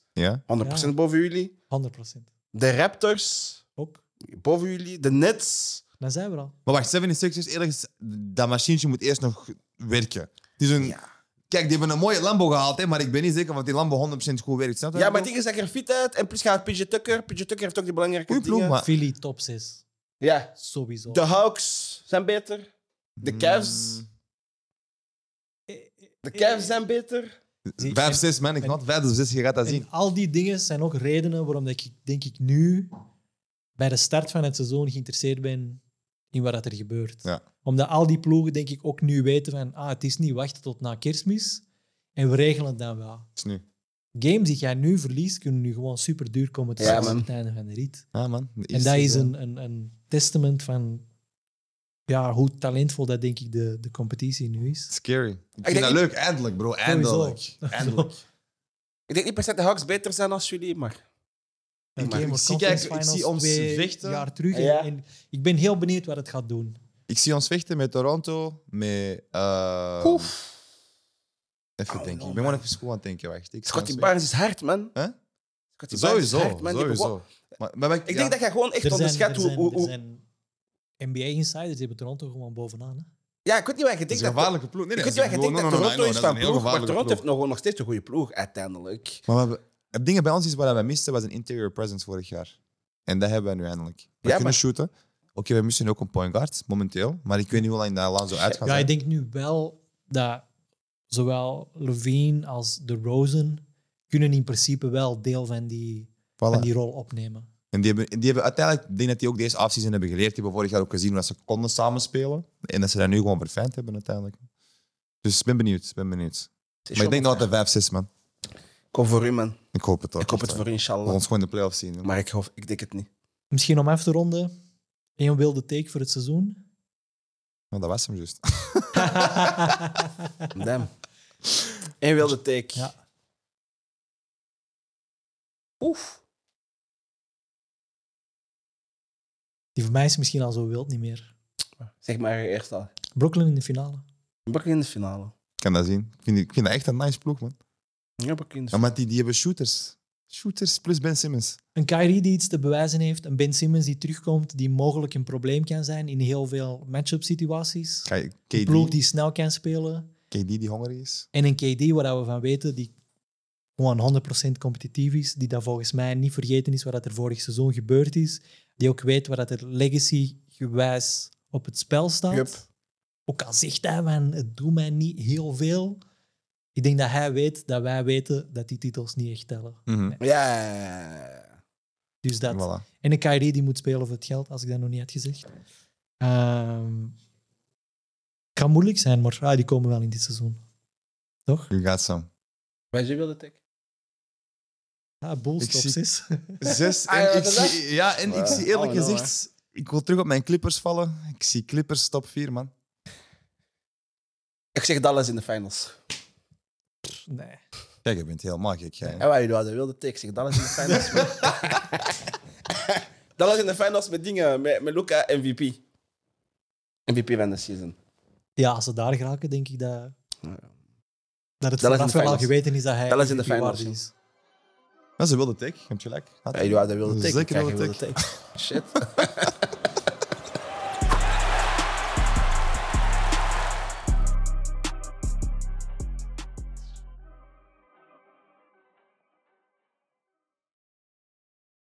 100% ja. boven jullie. 100%. De Raptors Ook. boven jullie. De Nets. Dan zijn we er al. Maar wacht, 76 is eerlijk gezegd, dat machientje moet eerst nog werken. Het is een, Ja, Kijk, die hebben een mooie Lambo gehaald, hè, maar ik ben niet zeker of die Lambo 100% goed werkt. Snap je ja wat maar ik het ding is dat je er fit uit. En plus gaat PJ Tucker. PJ Tucker heeft ook die belangrijke Goeie ploeg, dingen. maar- Philly top 6. Ja. Sowieso. De Hawks zijn beter. De Cavs. Mm. Eh, De Cavs zijn beter. Zie- bedoel? Vijf, en- zes man, ik en- had vijf of zes, je gaat dat zien. En al die dingen zijn ook redenen waarom dat ik, denk ik, nu bij de start van het seizoen geïnteresseerd ben in wat dat er gebeurt. Ja. Omdat al die ploegen, denk ik, ook nu weten van ah, het is niet wachten tot na kerstmis en we regelen het dan wel. Het is nu. Games die jij nu verliest, kunnen nu gewoon super duur komen te Ja, staan man. aan het einde van de rit. Ja, man. de En eerste dat is wel- een, een, een testament van ja, hoe talentvol dat denk ik de, de competitie nu Ah, is. Scary. Ik vind denk dat niet- leuk, eindelijk, bro. Eindelijk. Sowieso. Eindelijk. Ik denk niet per se dat de Hawks beter zijn als jullie, maar... Een maar Game ik of zie- Conference kijk, ik Finals zie ons twee vechten. jaar terug. En, Ja. en ik ben heel benieuwd wat het gaat doen. Ik zie ons vechten met Toronto, met... eh Oef. Even Oh, denken. no, ik ben gewoon man. even goed aan het denken, wacht. Ik zie Scottie ons Barnes is hard, man. Hè? Scottie vechten. Barnes is Sowieso, hard, man. Die begon- sowieso. Maar, maar, Ik denk dat jij gewoon echt onderschat hoe... hoe- hoe- NBA-insiders hebben Toronto gewoon bovenaan. Hè? Ja, ik weet niet wat je Het is een denkt. dat- gevaarlijke ploeg. Nee, Ik nee, weet dat niet is wat je een- denkt. no, Dat no, no, Toronto no, is no, van dat een heel ploeg, maar gevaarlijke Toronto ploeg. heeft nog, nog steeds een goede ploeg, uiteindelijk. Maar we hebben, het ding bij ons is wat we misten, was een interior presence vorig jaar. En dat hebben we nu eindelijk. We maar- kunnen shooten. Oké, we missen ook een point guard, momenteel. Maar ik weet niet hoe lang dat Alonso uit gaat Ja, ik zijn. denk nu wel dat zowel Levine als de Rosen kunnen in principe wel deel van die, Voilà. van die rol opnemen. En die hebben, die hebben uiteindelijk, ik denk dat die ook deze afseason hebben geleerd. Die hebben vorig jaar ook gezien hoe dat ze konden samenspelen. En dat ze dat nu gewoon verfijnd hebben uiteindelijk. Dus ik ben benieuwd, ik ben benieuwd. Het is Maar ik denk John nog altijd 5, 6 man. Ik hoop voor u, man. Ik hoop het toch. Ik hoop het voor u, We inshallah. gaan ons gewoon in de playoffs zien. joh. Maar ik, hoop, ik denk het niet. Misschien om af te ronden. Eén wilde take voor het seizoen. Ja, dat was hem juist. Damn. Eén wilde take. Ja. Oef. Die voor mij is misschien al zo wild niet meer. Zeg maar eerst al. Brooklyn in de finale. Brooklyn in de finale. Ik kan dat zien. Ik vind, ik vind dat echt een nice ploeg, man. Ja, Brooklyn in de Ja, finale. maar die, die hebben shooters. Shooters plus Ben Simmons. Een Kyrie die iets te bewijzen heeft. Een Ben Simmons die terugkomt, die mogelijk een probleem kan zijn in heel veel matchup situaties. Ga je- Een ploeg KD, die snel kan spelen. KD die hongerig is. En een KD waar we van weten, die gewoon 100% competitief is. Die dat volgens mij niet vergeten is wat dat er vorig seizoen gebeurd is. Die ook weet wat dat er legacy-gewijs op het spel staat. Yup. Ook al zegt hij, van, het doet mij niet heel veel. Ik denk dat hij weet dat wij weten dat die titels niet echt tellen. Mhm. Ja, ja, ja, ja. Dus dat, Voilà. En een Kyrie die moet spelen voor het geld, als ik dat nog niet had gezegd. Ehm, kan moeilijk zijn, maar ah, die komen wel in dit seizoen. Toch? You got some. Wat is je wilde take? Ja, Ah, Bulls Ik top zie- 6. Zes. Ah, ja, En ik dat is zie, ja, en ik Wow. zie eerlijk Oh, no, gezegd... Ik wil terug op mijn Clippers vallen. Ik zie Clippers top 4, man. Ik zeg Dallas in de finals. nee. Kijk, je bent helemaal gek, jij. En waar jullie hadden wilde take, ik zeg Dallas in de finals. man. Dallas in de finals met dingen, met, met Luca MVP. MVP van de season. Ja, als ze daar geraken, denk ik dat, Ja. dat het in de vanaf wel al finals. geweten is dat hij Dallas in de MVP waard finals, is. Maar ze wilden tik, je hebt gelijk. Had Ja, jullie hadden wilde take. Zeker ik krijg wilde je wilde take. Shit.